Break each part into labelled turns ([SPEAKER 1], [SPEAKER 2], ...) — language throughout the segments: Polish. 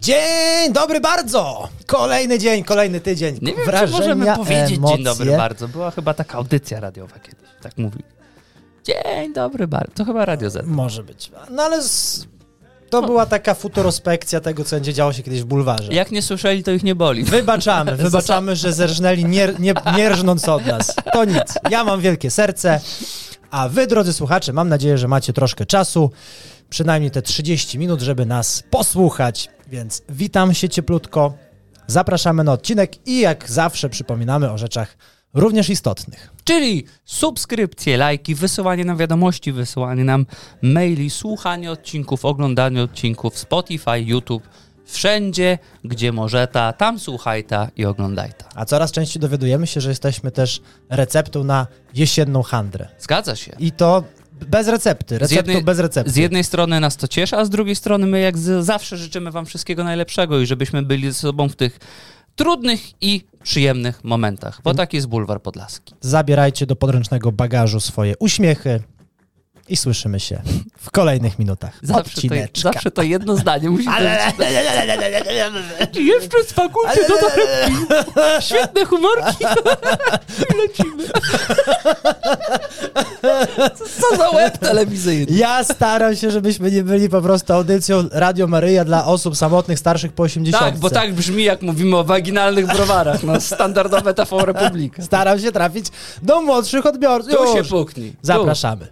[SPEAKER 1] Dzień dobry bardzo! Kolejny dzień, kolejny tydzień.
[SPEAKER 2] Nie wiem,
[SPEAKER 1] Wrażenia,
[SPEAKER 2] czy możemy powiedzieć
[SPEAKER 1] emocje.
[SPEAKER 2] dzień dobry bardzo. Była chyba taka audycja radiowa kiedyś, tak mówi. Dzień dobry bardzo. To chyba Radio Z.
[SPEAKER 1] Może być. No ale z... to była taka futurospekcja tego, co będzie działo się kiedyś w bulwarze.
[SPEAKER 2] Jak nie słyszeli, to ich nie boli.
[SPEAKER 1] Wybaczamy, wybaczamy, że zerżnęli nie, nie, nie rżnąc od nas. To nic. Ja mam wielkie serce, a wy, drodzy słuchacze, mam nadzieję, że macie troszkę czasu, przynajmniej te 30 minut, żeby nas posłuchać. Więc witam się cieplutko, zapraszamy na odcinek i jak zawsze przypominamy o rzeczach również istotnych.
[SPEAKER 2] Czyli subskrypcje, lajki, wysyłanie nam wiadomości, wysyłanie nam maili, słuchanie odcinków, oglądanie odcinków Spotify, YouTube, wszędzie, gdzie może ta, tam słuchaj ta i oglądaj ta.
[SPEAKER 1] A coraz częściej dowiadujemy się, że jesteśmy też receptą na jesienną handrę.
[SPEAKER 2] Zgadza się.
[SPEAKER 1] I to bez recepty, receptą
[SPEAKER 2] jednej-
[SPEAKER 1] bez recepty.
[SPEAKER 2] Z jednej strony nas to cieszy, a z drugiej strony my jak z, zawsze życzymy Wam wszystkiego najlepszego i żebyśmy byli ze sobą w tych trudnych i przyjemnych momentach, bo taki jest bulwar podlaski.
[SPEAKER 1] zabierajcie do podręcznego bagażu swoje uśmiechy i słyszymy się w kolejnych minutach
[SPEAKER 2] Zawsze to,
[SPEAKER 1] odcineczka.
[SPEAKER 2] zawsze to jedno zdanie musi być. I Jeszcze z fakulty
[SPEAKER 1] Ale-
[SPEAKER 2] świetne humorki i lecimy. Co, co za łeb telewizyjny.
[SPEAKER 1] Ja staram się, żebyśmy nie byli po prostu audycją Radio Maryja dla osób samotnych starszych po 80.
[SPEAKER 2] Tak, bo tak brzmi, jak mówimy o waginalnych browarach. No, standardowe TV Republika.
[SPEAKER 1] Staram się trafić do młodszych odbiorców.
[SPEAKER 2] Tu się
[SPEAKER 1] Już.
[SPEAKER 2] puknij. Tu.
[SPEAKER 1] Zapraszamy.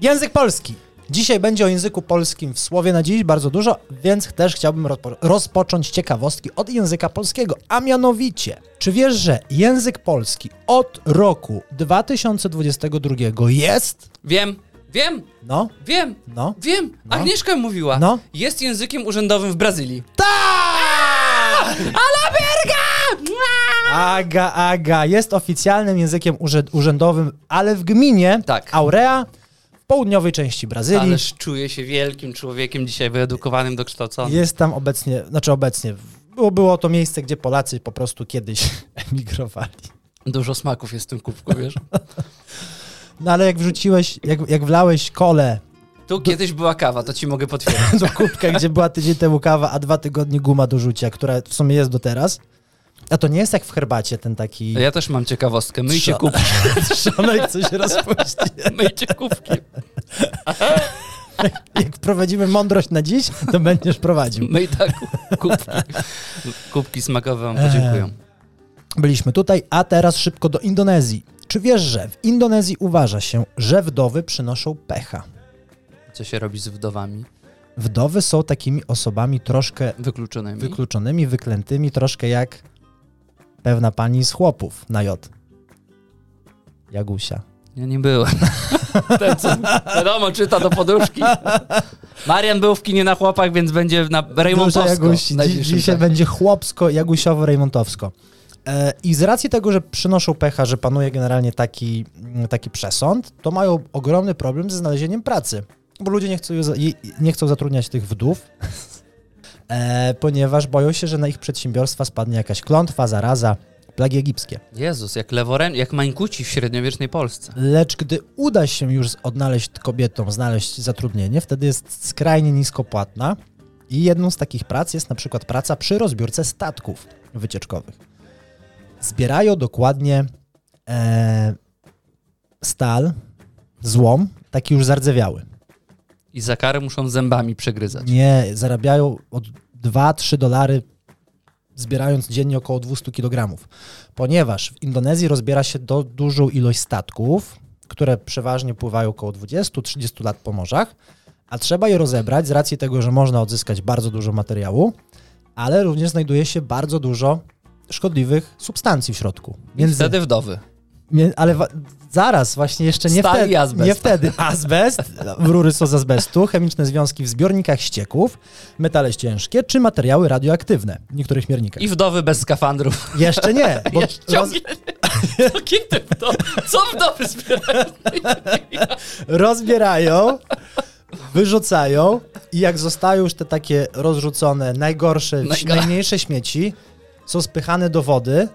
[SPEAKER 1] Język polski. Dzisiaj będzie o języku polskim w słowie na dziś bardzo dużo, więc też chciałbym rozpo- rozpocząć ciekawostki od języka polskiego. A mianowicie, czy wiesz, że język polski od roku 2022 jest?
[SPEAKER 2] Wiem, wiem,
[SPEAKER 1] No,
[SPEAKER 2] wiem,
[SPEAKER 1] no.
[SPEAKER 2] wiem.
[SPEAKER 1] No.
[SPEAKER 2] Agnieszka mówiła.
[SPEAKER 1] No.
[SPEAKER 2] Jest językiem urzędowym w Brazylii.
[SPEAKER 1] Tak!
[SPEAKER 2] Alaberga!
[SPEAKER 1] Aga, aga, jest oficjalnym językiem urzę- urzędowym, ale w gminie
[SPEAKER 2] Tak.
[SPEAKER 1] Aurea w południowej części Brazylii.
[SPEAKER 2] Ależ czuję się wielkim człowiekiem dzisiaj wyedukowanym, dokształconym.
[SPEAKER 1] Jest tam obecnie, znaczy obecnie, było, było to miejsce, gdzie Polacy po prostu kiedyś emigrowali.
[SPEAKER 2] Dużo smaków jest w tym kubku, wiesz?
[SPEAKER 1] No ale jak wrzuciłeś, jak, jak wlałeś kole
[SPEAKER 2] Tu kiedyś była kawa, to ci mogę potwierdzić.
[SPEAKER 1] do kubka, gdzie była tydzień temu kawa, a dwa tygodnie guma do rzucia, która w sumie jest do teraz, a to nie jest jak w herbacie ten taki
[SPEAKER 2] Ja też mam ciekawostkę. Myjcie
[SPEAKER 1] Trza-
[SPEAKER 2] kubki.
[SPEAKER 1] trzonek, co się rozpuści.
[SPEAKER 2] Myjcie kubki.
[SPEAKER 1] Jak prowadzimy mądrość na dziś, to będziesz prowadził.
[SPEAKER 2] Myj tak ku- kubki. Kubki smakowe
[SPEAKER 1] Eee.
[SPEAKER 2] wam podziękują.
[SPEAKER 1] Byliśmy tutaj, a teraz szybko do Indonezji. Czy wiesz, że w Indonezji uważa się, że wdowy przynoszą pecha?
[SPEAKER 2] Co się robi z wdowami?
[SPEAKER 1] Wdowy są takimi osobami troszkę
[SPEAKER 2] Wykluczonymi?
[SPEAKER 1] wykluczonymi, wyklętymi, troszkę jak pewna pani z chłopów na J. Jagusia.
[SPEAKER 2] Ja nie byłem. Ten, co wiadomo, czyta do poduszki. Marian był w kinie na chłopach, więc będzie na
[SPEAKER 1] Dużo
[SPEAKER 2] Rejmontowsko.
[SPEAKER 1] Jagusi.
[SPEAKER 2] w
[SPEAKER 1] Dzi-
[SPEAKER 2] najbliższym tak.
[SPEAKER 1] Dzisiaj
[SPEAKER 2] czasie.
[SPEAKER 1] będzie chłopsko, jagusiowo, rejmontowsko. E, I z racji tego, że przynoszą pecha, że panuje generalnie taki, mm, taki przesąd, to mają ogromny problem ze znalezieniem pracy. Bo ludzie nie chcą, za- i- nie chcą zatrudniać tych wdów, e, ponieważ boją się, że na ich przedsiębiorstwa spadnie jakaś klątwa, zaraza, plagi egipskie.
[SPEAKER 2] Jezus, jak leworem, jak mańkuci w średniowiecznej Polsce.
[SPEAKER 1] Lecz gdy uda się już odnaleźć kobietom, znaleźć zatrudnienie, wtedy jest skrajnie niskopłatna i jedną z takich prac jest na przykład praca przy rozbiórce statków wycieczkowych. Zbierają dokładnie e, stal, złom, taki już zardzewiały.
[SPEAKER 2] I za karę muszą zębami przegryzać.
[SPEAKER 1] Nie, zarabiają od 2-3 dolary, zbierając dziennie około 200 kg. Ponieważ w Indonezji rozbiera się do dużą ilość statków, które przeważnie pływają około 20-30 lat po morzach, a trzeba je rozebrać z racji tego, że można odzyskać bardzo dużo materiału, ale również znajduje się bardzo dużo szkodliwych substancji w środku.
[SPEAKER 2] Więc
[SPEAKER 1] Między,
[SPEAKER 2] wtedy wdowy.
[SPEAKER 1] Mię- ale wa- zaraz, właśnie jeszcze nie
[SPEAKER 2] Stal i
[SPEAKER 1] wtedy.
[SPEAKER 2] azbest.
[SPEAKER 1] Nie wtedy. Azbest, rury są z azbestu, chemiczne związki w zbiornikach ścieków, metale ciężkie czy materiały radioaktywne w niektórych miernikach.
[SPEAKER 2] I wdowy bez skafandrów.
[SPEAKER 1] Jeszcze nie, bo roz,
[SPEAKER 2] Ciągnie. To kiedy wdowy? Co wdowy zbierają?
[SPEAKER 1] rozbierają, wyrzucają i jak zostają już te takie rozrzucone, najgorsze,
[SPEAKER 2] Najga-
[SPEAKER 1] najmniejsze śmieci, są spychane do wody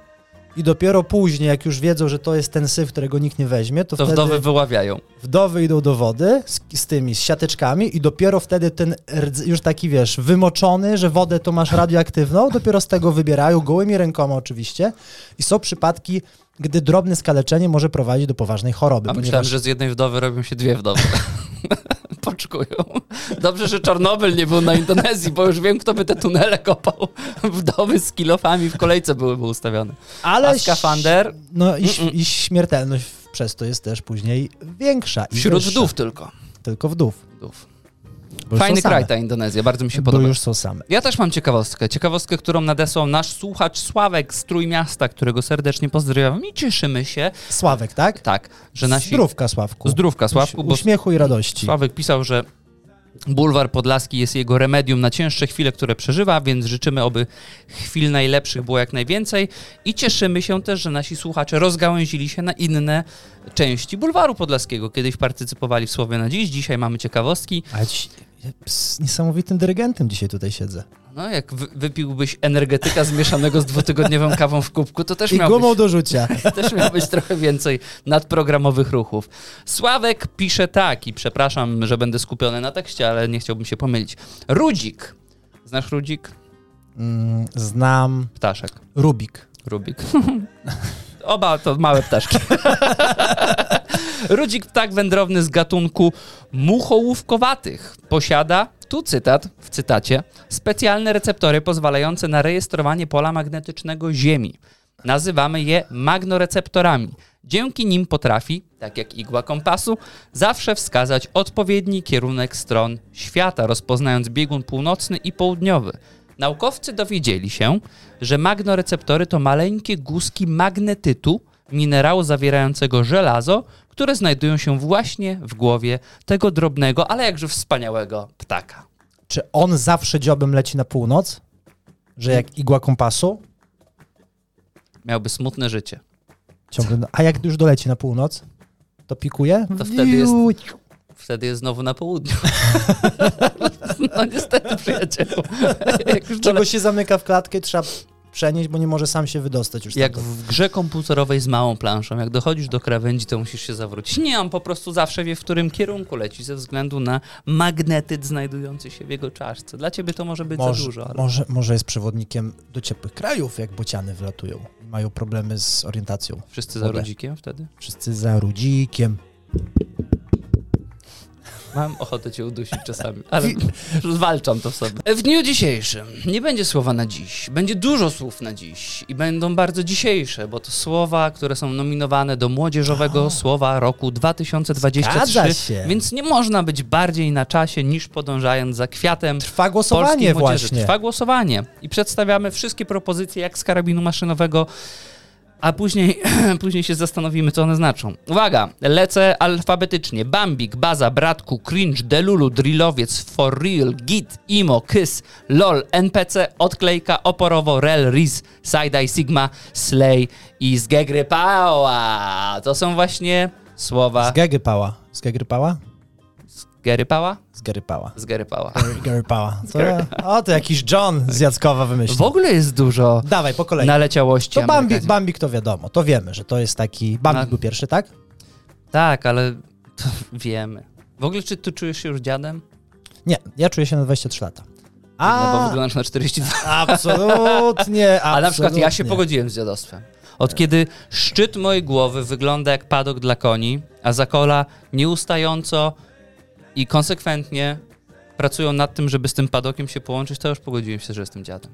[SPEAKER 1] I dopiero później, jak już wiedzą, że to jest ten syf, którego nikt nie weźmie, to,
[SPEAKER 2] To
[SPEAKER 1] wtedy
[SPEAKER 2] wdowy wyławiają.
[SPEAKER 1] wdowy idą do wody z, z tymi, z siateczkami i dopiero wtedy ten rdz, już taki, wiesz, wymoczony, że wodę to masz radioaktywną, dopiero z tego wybierają, gołymi rękoma oczywiście. I są przypadki, gdy drobne skaleczenie może prowadzić do poważnej choroby,
[SPEAKER 2] A myślałem,
[SPEAKER 1] ponieważ
[SPEAKER 2] że z jednej wdowy robią się dwie wdowy. Poczkują. Dobrze, że Czarnobyl nie był na Indonezji, bo już wiem, kto by te tunele kopał. Wdowy z kilofami w kolejce byłyby ustawione.
[SPEAKER 1] ale
[SPEAKER 2] A skafander
[SPEAKER 1] No i, ś- i śmiertelność w- przez to jest też później większa. i
[SPEAKER 2] wśród
[SPEAKER 1] wyższa.
[SPEAKER 2] wdów tylko.
[SPEAKER 1] Tylko wdów.
[SPEAKER 2] Wdów.
[SPEAKER 1] Bo już
[SPEAKER 2] Fajny
[SPEAKER 1] są same.
[SPEAKER 2] kraj ta Indonezja, bardzo mi się
[SPEAKER 1] Bo
[SPEAKER 2] podoba.
[SPEAKER 1] już są same.
[SPEAKER 2] Ja też mam ciekawostkę. Ciekawostkę, którą nadesłał nasz słuchacz Sławek z Trójmiasta, którego serdecznie pozdrawiam i cieszymy się,
[SPEAKER 1] Sławek, tak?
[SPEAKER 2] tak, że nasi...
[SPEAKER 1] Zdrówka, Sławku.
[SPEAKER 2] Zdrówka, Sławku, bo
[SPEAKER 1] Uśmiechu i radości.
[SPEAKER 2] Sławek pisał, że Bulwar Podlaski jest jego remedium na cięższe chwile, które przeżywa, więc życzymy, aby chwil najlepszych było jak najwięcej i cieszymy się też, że nasi słuchacze rozgałęzili się na inne części Bulwaru Podlaskiego. Kiedyś partycypowali w Słowie na Dziś, dzisiaj mamy ciekawostki.
[SPEAKER 1] A ci, ja z niesamowitym dyrygentem dzisiaj tutaj siedzę.
[SPEAKER 2] No, jak wy- wypiłbyś energetyka zmieszanego z dwutygodniową kawą w kubku, to też
[SPEAKER 1] I
[SPEAKER 2] miałbyś...
[SPEAKER 1] gumą do rzucia.
[SPEAKER 2] Też miał być trochę więcej nadprogramowych ruchów. Sławek pisze tak i przepraszam, że będę skupiony na tekście, ale nie chciałbym się pomylić. Rudzik. Znasz Rudzik?
[SPEAKER 1] Mm, znam
[SPEAKER 2] Ptaszek.
[SPEAKER 1] Rubik.
[SPEAKER 2] Rubik. Oba to małe ptaszki. Rudzik ptak wędrowny z gatunku muchołówkowatych. Posiada, tu cytat, w cytacie, specjalne receptory pozwalające na rejestrowanie pola magnetycznego Ziemi. Nazywamy je magnoreceptorami. Dzięki nim potrafi, tak jak igła kompasu, zawsze wskazać odpowiedni kierunek stron świata, rozpoznając biegun północny i południowy. Naukowcy dowiedzieli się, że magnoreceptory to maleńkie guzki magnetytu, minerału zawierającego żelazo, które znajdują się właśnie w głowie tego drobnego, ale jakże wspaniałego ptaka.
[SPEAKER 1] Czy on zawsze dziobem leci na północ? Że jak igła kompasu?
[SPEAKER 2] Miałby smutne życie.
[SPEAKER 1] Ciągle, a jak już doleci na północ, to pikuje?
[SPEAKER 2] To wtedy jest-
[SPEAKER 1] Wiu-
[SPEAKER 2] Wtedy jest znowu na południu. no niestety, przyjacielu. Jak, już dole...
[SPEAKER 1] Czego się zamyka w klatkę i trzeba przenieść, bo nie może sam się wydostać już
[SPEAKER 2] jak
[SPEAKER 1] stamtąd.
[SPEAKER 2] w grze komputerowej z małą planszą, jak dochodzisz do krawędzi, to musisz się zawrócić. Nie, on po prostu zawsze wie, w którym kierunku leci, ze względu na magnetyt znajdujący się w jego czaszce. Dla ciebie to może być
[SPEAKER 1] może,
[SPEAKER 2] za dużo, ale...
[SPEAKER 1] może, może jest przewodnikiem do ciepłych krajów, jak bociany wylatują. i Mają problemy z orientacją.
[SPEAKER 2] Wszyscy za
[SPEAKER 1] Wodę.
[SPEAKER 2] rodzikiem wtedy?
[SPEAKER 1] Wszyscy za rudzikiem.
[SPEAKER 2] Mam ochotę cię udusić czasami, ale zwalczam to w sobie. W dniu dzisiejszym nie będzie słowa na dziś. Będzie dużo słów na dziś i będą bardzo dzisiejsze, bo to słowa, które są nominowane do Młodzieżowego Słowa roku 2023.
[SPEAKER 1] Zgadza się.
[SPEAKER 2] Więc nie można być bardziej na czasie niż podążając za kwiatem
[SPEAKER 1] Trwa
[SPEAKER 2] polskiej
[SPEAKER 1] głosowanie
[SPEAKER 2] młodzieży.
[SPEAKER 1] właśnie.
[SPEAKER 2] Trwa głosowanie i przedstawiamy wszystkie propozycje jak z karabinu maszynowego, a później, później się zastanowimy, co one znaczą. Uwaga, lecę alfabetycznie. Bambik, Baza, Bratku, Cringe, Delulu, Drillowiec, For Real, Git, Imo, Kys, LOL, NPC, Odklejka, Oporowo, Rel, Riz, Side-Eye, Sigma, Slay i Zgegrypała. To są właśnie słowa
[SPEAKER 1] Z Gegrypała. Z Gegrypała?
[SPEAKER 2] Gerypała?
[SPEAKER 1] Z Gerypała.
[SPEAKER 2] Zgerypała.
[SPEAKER 1] Gerypała. Co ja? O, to jakiś John z Jackowa
[SPEAKER 2] W
[SPEAKER 1] wymyślił.
[SPEAKER 2] ogóle jest dużo
[SPEAKER 1] Dawaj, po kolei.
[SPEAKER 2] naleciałości
[SPEAKER 1] To Bambik,
[SPEAKER 2] Amerykańskich.
[SPEAKER 1] Bambik to wiadomo, to wiemy, że to jest taki... Bambik
[SPEAKER 2] Na-
[SPEAKER 1] był pierwszy, tak?
[SPEAKER 2] Tak, ale to wiemy. W ogóle czy ty czujesz się już dziadem?
[SPEAKER 1] Nie, ja czuję się na 23 lata.
[SPEAKER 2] No bo
[SPEAKER 1] A,
[SPEAKER 2] wyglądasz na 42.
[SPEAKER 1] absolutnie,
[SPEAKER 2] A na przykład ja się
[SPEAKER 1] absolutnie.
[SPEAKER 2] pogodziłem z dziadostwem. Od kiedy szczyt mojej głowy wygląda jak padok dla koni, a zakola nieustająco i konsekwentnie pracują nad tym, żeby z tym padokiem się połączyć, to już pogodziłem się, że jestem dziadem.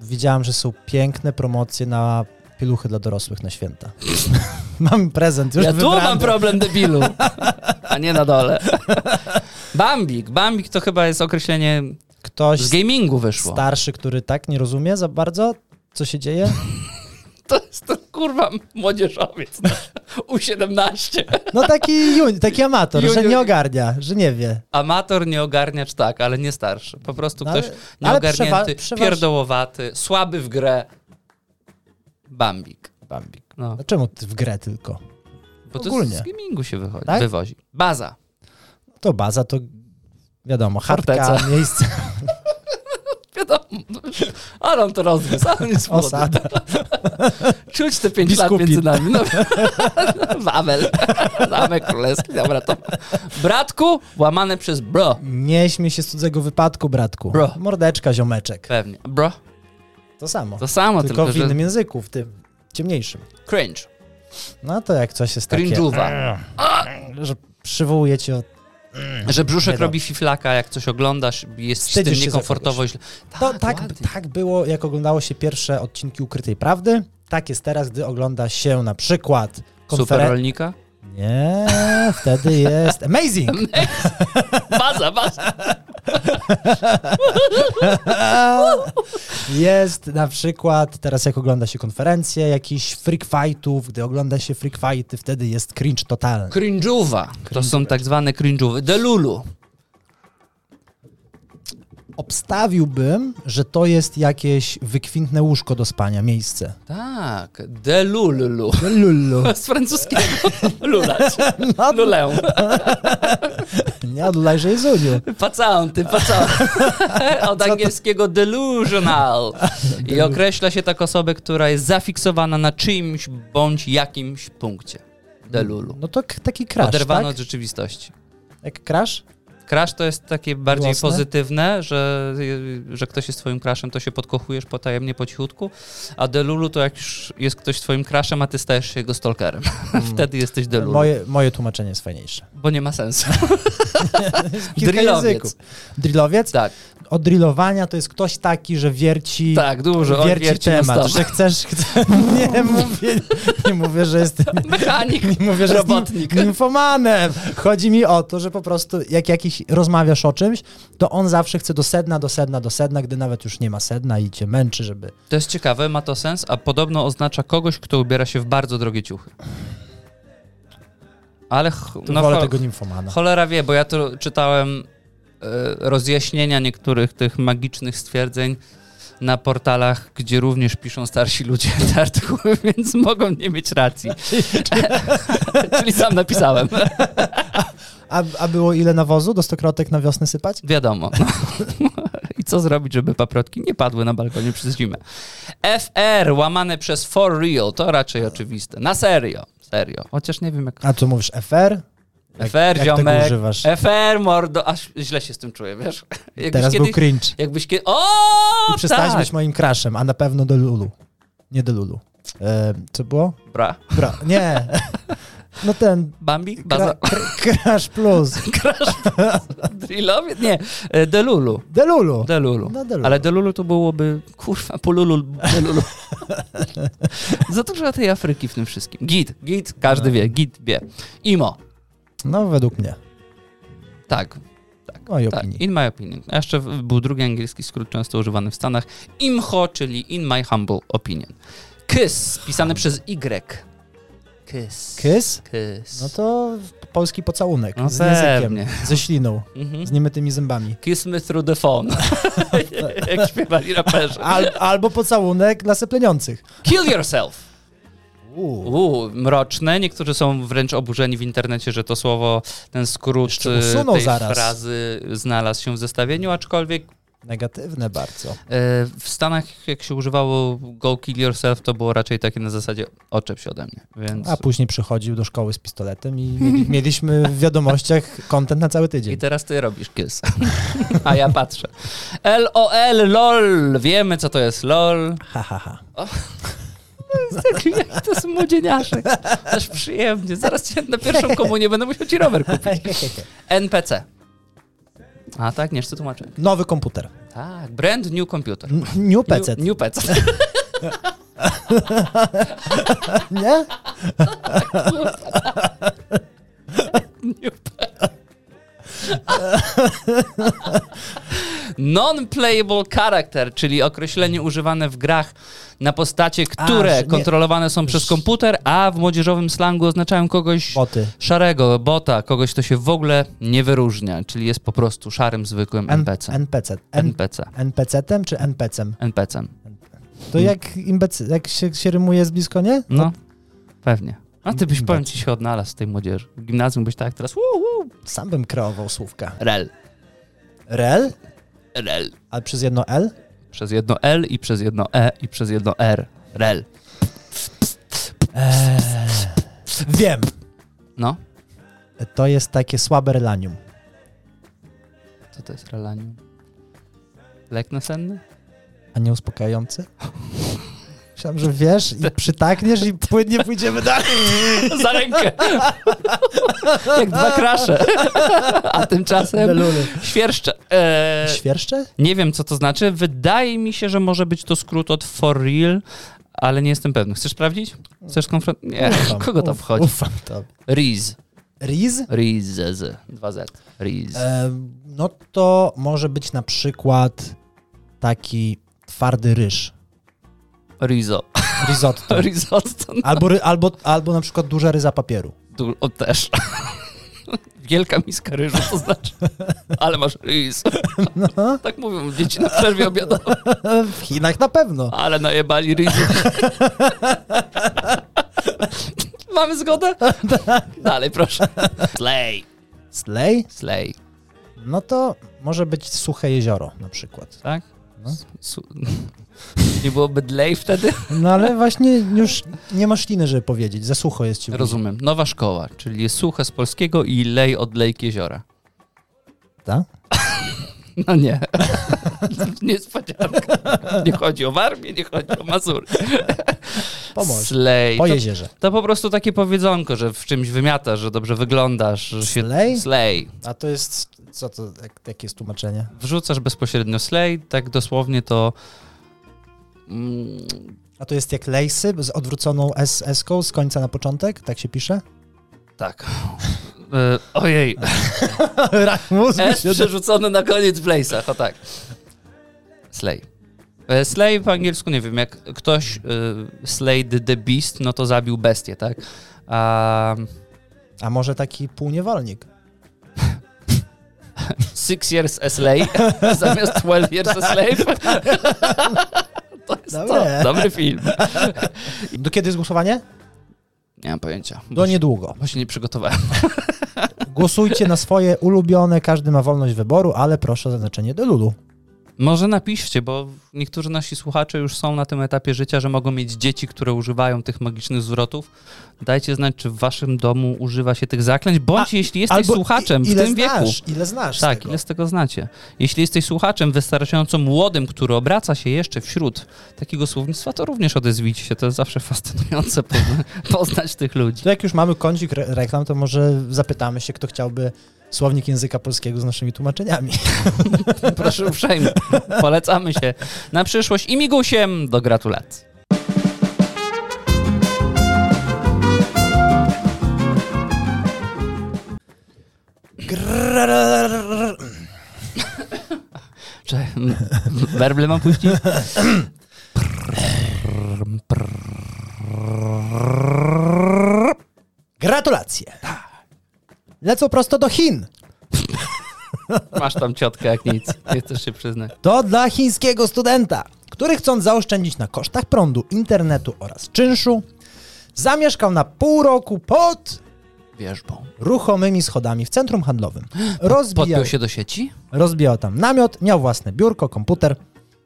[SPEAKER 1] Widziałem, że są piękne promocje na pieluchy dla dorosłych na święta. mam prezent już
[SPEAKER 2] ja tu
[SPEAKER 1] wybrany.
[SPEAKER 2] mam problem debilu, a nie na dole. Bambik. Bambik to chyba jest określenie
[SPEAKER 1] Ktoś
[SPEAKER 2] z gamingu wyszło.
[SPEAKER 1] starszy, który tak nie rozumie za bardzo, co się dzieje.
[SPEAKER 2] To jest to kurwa młodzieżowiec no. U17.
[SPEAKER 1] No taki, juni- taki amator, że
[SPEAKER 2] Junior.
[SPEAKER 1] nie ogarnia, że nie wie.
[SPEAKER 2] Amator nie ogarniacz tak, ale nie starszy. Po prostu
[SPEAKER 1] No
[SPEAKER 2] ktoś
[SPEAKER 1] ale- ale
[SPEAKER 2] nieogarnięty,
[SPEAKER 1] przewa- przeważ-
[SPEAKER 2] pierdołowaty, słaby w grę. Bambik.
[SPEAKER 1] Bambik.
[SPEAKER 2] No,
[SPEAKER 1] A czemu ty w grę tylko?
[SPEAKER 2] bo to
[SPEAKER 1] ogólnie.
[SPEAKER 2] z gamingu się wychodzi,
[SPEAKER 1] Tak?
[SPEAKER 2] wywozi. Baza.
[SPEAKER 1] To baza, to wiadomo, chatka,
[SPEAKER 2] Forteca.
[SPEAKER 1] miejsce.
[SPEAKER 2] Wiadomo. Ale on to rozgryzł, ale on jest młody.
[SPEAKER 1] Osada.
[SPEAKER 2] Czuć te pięć lat
[SPEAKER 1] Biskupi.
[SPEAKER 2] między nami. No, Wawel, zamek królewski, dobra to. Bratku, łamane przez bro.
[SPEAKER 1] Nie śmiej się z cudzego wypadku, bratku.
[SPEAKER 2] Bro.
[SPEAKER 1] Mordeczka, ziomeczek.
[SPEAKER 2] Pewnie. Bro,
[SPEAKER 1] To samo.
[SPEAKER 2] to samo,
[SPEAKER 1] tylko,
[SPEAKER 2] tylko,
[SPEAKER 1] w innym
[SPEAKER 2] że
[SPEAKER 1] języku, w tym ciemniejszym.
[SPEAKER 2] cringe,
[SPEAKER 1] No to jak coś jest takie, e,
[SPEAKER 2] cringe'uwa.
[SPEAKER 1] że przywołuje cię od...
[SPEAKER 2] Że brzuszek
[SPEAKER 1] Nie no.
[SPEAKER 2] robi fiflaka, jak coś oglądasz, jest ci z
[SPEAKER 1] Wstydzisz
[SPEAKER 2] tym
[SPEAKER 1] się
[SPEAKER 2] niekomfortowo. źle.
[SPEAKER 1] To
[SPEAKER 2] Tak,
[SPEAKER 1] tak,
[SPEAKER 2] ładnie.
[SPEAKER 1] tak było, jak oglądało się pierwsze odcinki Ukrytej Prawdy. Tak jest teraz, gdy ogląda się na przykład
[SPEAKER 2] Super
[SPEAKER 1] konferencję...
[SPEAKER 2] rolnika?
[SPEAKER 1] Nie, wtedy jest amazing.
[SPEAKER 2] Baza, baza.
[SPEAKER 1] Jest na przykład, teraz jak ogląda się konferencje jakichś freak fightów, gdy ogląda się freak fighty, wtedy jest cringe totalny.
[SPEAKER 2] Cringe'uwa. To są tak zwane cringe'uwy. Delulu.
[SPEAKER 1] Obstawiłbym, że to jest jakieś wykwintne łóżko do spania, miejsce.
[SPEAKER 2] Tak, delulu.
[SPEAKER 1] Lulu.
[SPEAKER 2] Z francuskiego. Lulać.
[SPEAKER 1] No,
[SPEAKER 2] Lulę.
[SPEAKER 1] nie odlaj, że jest uniu.
[SPEAKER 2] Pacanty, pacanty. Od angielskiego delusional. I określa się tak osobę, która jest zafiksowana na czyimś bądź jakimś punkcie. Delulu.
[SPEAKER 1] No to k- taki crash,
[SPEAKER 2] Oderwana
[SPEAKER 1] tak?
[SPEAKER 2] od rzeczywistości.
[SPEAKER 1] Jak crash?
[SPEAKER 2] Crash to jest takie bardziej
[SPEAKER 1] Miłosne?
[SPEAKER 2] pozytywne, że, że ktoś jest twoim crashem, to się podkochujesz potajemnie, po cichutku, a Delulu to jak już jest ktoś twoim crashem, a ty stajesz się jego stalkerem. Wtedy jesteś Delulu,
[SPEAKER 1] Mm. Moje, moje tłumaczenie jest fajniejsze.
[SPEAKER 2] bo nie ma sensu.
[SPEAKER 1] Kilka
[SPEAKER 2] Drillowiec.
[SPEAKER 1] języków. Drillowiec?
[SPEAKER 2] tak,
[SPEAKER 1] Od drillowania to jest ktoś taki, że wierci...
[SPEAKER 2] tak, dużo. on
[SPEAKER 1] Wierci,
[SPEAKER 2] na
[SPEAKER 1] temat,
[SPEAKER 2] stop.
[SPEAKER 1] że chcesz, chcesz nie, mówię, nie mówię, że jestem
[SPEAKER 2] Mechanik.
[SPEAKER 1] Nie mówię, że
[SPEAKER 2] Robotnik.
[SPEAKER 1] robotnik. Infomanem. Chodzi mi o to, że po prostu jak jakiś rozmawiasz o czymś, to on zawsze chce do sedna, do sedna, do sedna, gdy nawet już nie ma sedna i cię męczy, żeby.
[SPEAKER 2] To jest ciekawe, ma to sens, a podobno oznacza kogoś, kto ubiera się w bardzo drogie ciuchy. Ale ch-
[SPEAKER 1] Tu
[SPEAKER 2] no,
[SPEAKER 1] wolę
[SPEAKER 2] cho-
[SPEAKER 1] tego nimfomana.
[SPEAKER 2] cholera wie, bo ja tu czytałem e, rozjaśnienia niektórych tych magicznych stwierdzeń na portalach, gdzie również piszą starsi ludzie te artykuły, więc mogą nie mieć racji. Czyli sam napisałem.
[SPEAKER 1] A, a było ile nawozu do stokrotek na wiosnę sypać?
[SPEAKER 2] Wiadomo. No. I co zrobić, żeby paprotki nie padły na balkonie przez zimę? FR łamane przez for real, to raczej oczywiste. Na serio. Serio. Chociaż nie wiem jak...
[SPEAKER 1] A tu mówisz FR? Jak-
[SPEAKER 2] FR,
[SPEAKER 1] jak
[SPEAKER 2] ziomek.
[SPEAKER 1] tego używasz?
[SPEAKER 2] FR, mordo. Aż źle się z tym czuję, wiesz? Jakbyś
[SPEAKER 1] Teraz był cringe.
[SPEAKER 2] Jakbyś kiedy... O,
[SPEAKER 1] I przestałaś
[SPEAKER 2] tak!
[SPEAKER 1] być moim crashem, a na pewno do Lulu. Nie do Lulu. E, co było?
[SPEAKER 2] Bra.
[SPEAKER 1] Bra. Nie. No ten.
[SPEAKER 2] Bambi? Baza...
[SPEAKER 1] Kra- kr- crash plus.
[SPEAKER 2] Crash. Drillowie? Nie. E, Delulu.
[SPEAKER 1] Delulu.
[SPEAKER 2] Delulu.
[SPEAKER 1] No, Delulu.
[SPEAKER 2] Ale Delulu to byłoby, kurwa, polulu, Delulu. Za dużo tej Afryki w tym wszystkim. Git, git, każdy
[SPEAKER 1] Tak.
[SPEAKER 2] wie, git wie. Imo,
[SPEAKER 1] No według mnie.
[SPEAKER 2] tak,
[SPEAKER 1] Mojej
[SPEAKER 2] tak,
[SPEAKER 1] opinii.
[SPEAKER 2] in my opinion. A Jeszcze w- był drugi angielski skrót często używany w Stanach. Imho, czyli in my humble opinion. Kiss, pisane przez Y. Kiss.
[SPEAKER 1] Kiss?
[SPEAKER 2] Kiss.
[SPEAKER 1] No to polski pocałunek
[SPEAKER 2] No
[SPEAKER 1] z
[SPEAKER 2] pewnie.
[SPEAKER 1] językiem, ze śliną,
[SPEAKER 2] Mhm.
[SPEAKER 1] z niemytymi zębami.
[SPEAKER 2] Kiss me through the phone. Jak śpiewali raperzy.
[SPEAKER 1] Al, albo pocałunek dla sepleniących.
[SPEAKER 2] Kill yourself.
[SPEAKER 1] Uuu.
[SPEAKER 2] Uuu, mroczne. Niektórzy są wręcz oburzeni w internecie, że to słowo, ten skrót
[SPEAKER 1] Jeszcze
[SPEAKER 2] e,
[SPEAKER 1] usunął
[SPEAKER 2] tej
[SPEAKER 1] zaraz.
[SPEAKER 2] frazy znalazł się w zestawieniu, aczkolwiek e,
[SPEAKER 1] Negatywne bardzo.
[SPEAKER 2] w Stanach, jak się używało go kill yourself, to było raczej takie na zasadzie oczep się ode mnie, więc...
[SPEAKER 1] A później przychodził do szkoły z pistoletem i mieli, mieliśmy w wiadomościach content na cały
[SPEAKER 2] I
[SPEAKER 1] tydzień.
[SPEAKER 2] teraz ty robisz kiss. A ja patrzę. LOL, LOL. Wiemy, co to jest LOL.
[SPEAKER 1] Ha, ha, ha.
[SPEAKER 2] Jak to jest młodzieniaszek. Też przyjemnie. Zaraz cię na pierwszą komunię będę musiał ci rower kupić. NPC. A tak, nie, jeszcze tłumaczę.
[SPEAKER 1] Nowy komputer.
[SPEAKER 2] Tak, brand new computer.
[SPEAKER 1] N- New PC,
[SPEAKER 2] New, new PC.
[SPEAKER 1] nie?
[SPEAKER 2] New PC. Non-playable character, czyli określenie używane w grach na postacie,
[SPEAKER 1] A,
[SPEAKER 2] które
[SPEAKER 1] że nie-
[SPEAKER 2] kontrolowane są przez komputer, a w młodzieżowym slangu oznaczają kogoś
[SPEAKER 1] Boty.
[SPEAKER 2] szarego, bota, kogoś, kto się w ogóle nie wyróżnia, czyli jest po prostu szarym, zwykłym
[SPEAKER 1] N-
[SPEAKER 2] NPC.
[SPEAKER 1] NPC. N- No.
[SPEAKER 2] NPC.
[SPEAKER 1] NPC-tem czy NPC-em?
[SPEAKER 2] NPC.
[SPEAKER 1] To jak, imbecy, jak się, się rymuje z blisko, nie?
[SPEAKER 2] No, pewnie. A ty byś, powiem ci, się odnalazł z tej młodzieży. W gimnazjum byś tak teraz, woo, woo.
[SPEAKER 1] Sam bym kreował słówka.
[SPEAKER 2] Rel.
[SPEAKER 1] Rel?
[SPEAKER 2] Rel.
[SPEAKER 1] Ale przez jedno L?
[SPEAKER 2] Przez jedno L i przez jedno E i przez jedno R. Rel.
[SPEAKER 1] Eee, wiem.
[SPEAKER 2] No,
[SPEAKER 1] To jest takie słabe relanium.
[SPEAKER 2] co to jest relanium? Lek nasenny?
[SPEAKER 1] A nie uspokajające? Myślałem, że wiesz i przytakniesz i płynnie pójdziemy dalej.
[SPEAKER 2] Za rękę! Jak dwa krasze. A tymczasem
[SPEAKER 1] Beluny.
[SPEAKER 2] świerszcze. Eee,
[SPEAKER 1] Świerszcze?
[SPEAKER 2] Nie wiem, co to znaczy. Wydaje mi się, że może być to skrót od for real, ale nie jestem pewny. Chcesz sprawdzić? Chcesz konfront? Nie, kogo to
[SPEAKER 1] No uf-
[SPEAKER 2] wchodzi?
[SPEAKER 1] Ufam to.
[SPEAKER 2] Riz.
[SPEAKER 1] Riz?
[SPEAKER 2] Riz. z- Dwa z Riz.
[SPEAKER 1] E, no to może być na przykład taki twardy ryż.
[SPEAKER 2] Rizo.
[SPEAKER 1] Risotto.
[SPEAKER 2] Risotto.
[SPEAKER 1] Albo, ry, albo, albo na przykład duża ryza papieru.
[SPEAKER 2] Du- o, też. Wielka miska ryżu, to znaczy. Ale masz riz.
[SPEAKER 1] No.
[SPEAKER 2] Tak mówią dzieci na przerwie obiadowej.
[SPEAKER 1] W Chinach na pewno.
[SPEAKER 2] Ale najebali riz. Mamy zgodę?
[SPEAKER 1] Tak.
[SPEAKER 2] Dalej, proszę. Slay.
[SPEAKER 1] Slej?
[SPEAKER 2] Slay.
[SPEAKER 1] No to może być suche jezioro na przykład.
[SPEAKER 2] Tak?
[SPEAKER 1] No.
[SPEAKER 2] Su- Nie byłoby dlej wtedy?
[SPEAKER 1] No ale właśnie już nie masz liny, żeby powiedzieć. Za sucho jest ci. w-
[SPEAKER 2] Rozumiem. Nowa szkoła, czyli jest suche z polskiego i lej od lejk jeziora.
[SPEAKER 1] Tak?
[SPEAKER 2] No nie. Niespodzianka. Nie chodzi o Warmię, nie chodzi o Mazury.
[SPEAKER 1] Pomóż.
[SPEAKER 2] Slej.
[SPEAKER 1] Po
[SPEAKER 2] To,
[SPEAKER 1] jeziorze.
[SPEAKER 2] to po prostu takie powiedzonko, że w czymś wymiatasz, że dobrze wyglądasz. Że się...
[SPEAKER 1] Slej?
[SPEAKER 2] Slej.
[SPEAKER 1] A to jest, co to, jak, jakie jest tłumaczenie?
[SPEAKER 2] Wrzucasz bezpośrednio slej, tak dosłownie to... Mm,
[SPEAKER 1] A to jest jak lejsy z odwróconą SS-ką z końca na początek? Tak się pisze?
[SPEAKER 2] tak. Y, Ojej,
[SPEAKER 1] Rak mózgu
[SPEAKER 2] S przerzucony na koniec w lejsach, o tak. Slay. E, Slay w angielsku, nie wiem, jak ktoś y, slayed the beast, no to zabił bestię, tak? Ehm, A,
[SPEAKER 1] A może taki półniewolnik?
[SPEAKER 2] six years a slay zamiast 12 years a slave. to jest
[SPEAKER 1] Dobre.
[SPEAKER 2] to. Dobry film.
[SPEAKER 1] Do kiedy jest głosowanie?
[SPEAKER 2] Nie mam pojęcia, bo,
[SPEAKER 1] Do
[SPEAKER 2] się,
[SPEAKER 1] niedługo.
[SPEAKER 2] bo się nie przygotowałem.
[SPEAKER 1] Głosujcie na swoje ulubione, każdy ma wolność wyboru, ale proszę o zaznaczenie do Lulu.
[SPEAKER 2] Może napiszcie, bo niektórzy nasi słuchacze już są na tym etapie życia, że mogą mieć dzieci, które używają tych magicznych zwrotów. Dajcie znać, czy w waszym domu używa się tych zaklęć, bądź jeśli jesteś
[SPEAKER 1] Albo
[SPEAKER 2] słuchaczem
[SPEAKER 1] i- ile
[SPEAKER 2] w tym wieku.
[SPEAKER 1] znasz, Ile znasz? z
[SPEAKER 2] Tak,
[SPEAKER 1] tego?
[SPEAKER 2] ile z tego znacie? Jeśli jesteś słuchaczem wystarczająco młodym, który obraca się jeszcze wśród takiego słownictwa, to również odezwijcie się. To jest zawsze fascynujące pozna- poznać tych ludzi.
[SPEAKER 1] To jak już mamy kącik re reklam, to może zapytamy się, kto chciałby słownik języka polskiego z naszymi tłumaczeniami.
[SPEAKER 2] Proszę uprzejmie, polecamy się na przyszłość i migusiem do gratulacji. Czy m, werble mam puścić?
[SPEAKER 1] Gratulacje! Lecą prosto do Chin.
[SPEAKER 2] Masz tam ciotkę jak nic, nie chcesz się przyznać.
[SPEAKER 1] To dla chińskiego studenta, który chcąc zaoszczędzić na kosztach prądu, internetu oraz czynszu, zamieszkał na pół roku pod
[SPEAKER 2] Wierzbą.
[SPEAKER 1] ruchomymi schodami w centrum handlowym. Rozbijał,
[SPEAKER 2] Podpiął się do sieci?
[SPEAKER 1] rozbijał tam namiot, miał własne biurko, komputer,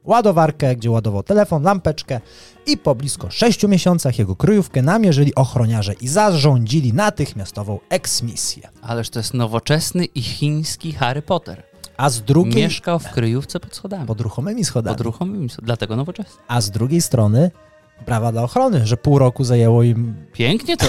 [SPEAKER 1] ładowarkę, gdzie ładował telefon, lampeczkę i po blisko sześciu miesiącach jego kryjówkę namierzyli ochroniarze i zarządzili natychmiastową eksmisję.
[SPEAKER 2] Ależ to jest nowoczesny i chiński Harry Potter.
[SPEAKER 1] A z drugiej...
[SPEAKER 2] Mieszkał w kryjówce pod schodami.
[SPEAKER 1] Pod ruchomymi schodami.
[SPEAKER 2] Pod ruchomym, dlatego nowoczesny.
[SPEAKER 1] A z drugiej strony brawa dla ochrony, że pół roku zajęło im
[SPEAKER 2] Pięknie to.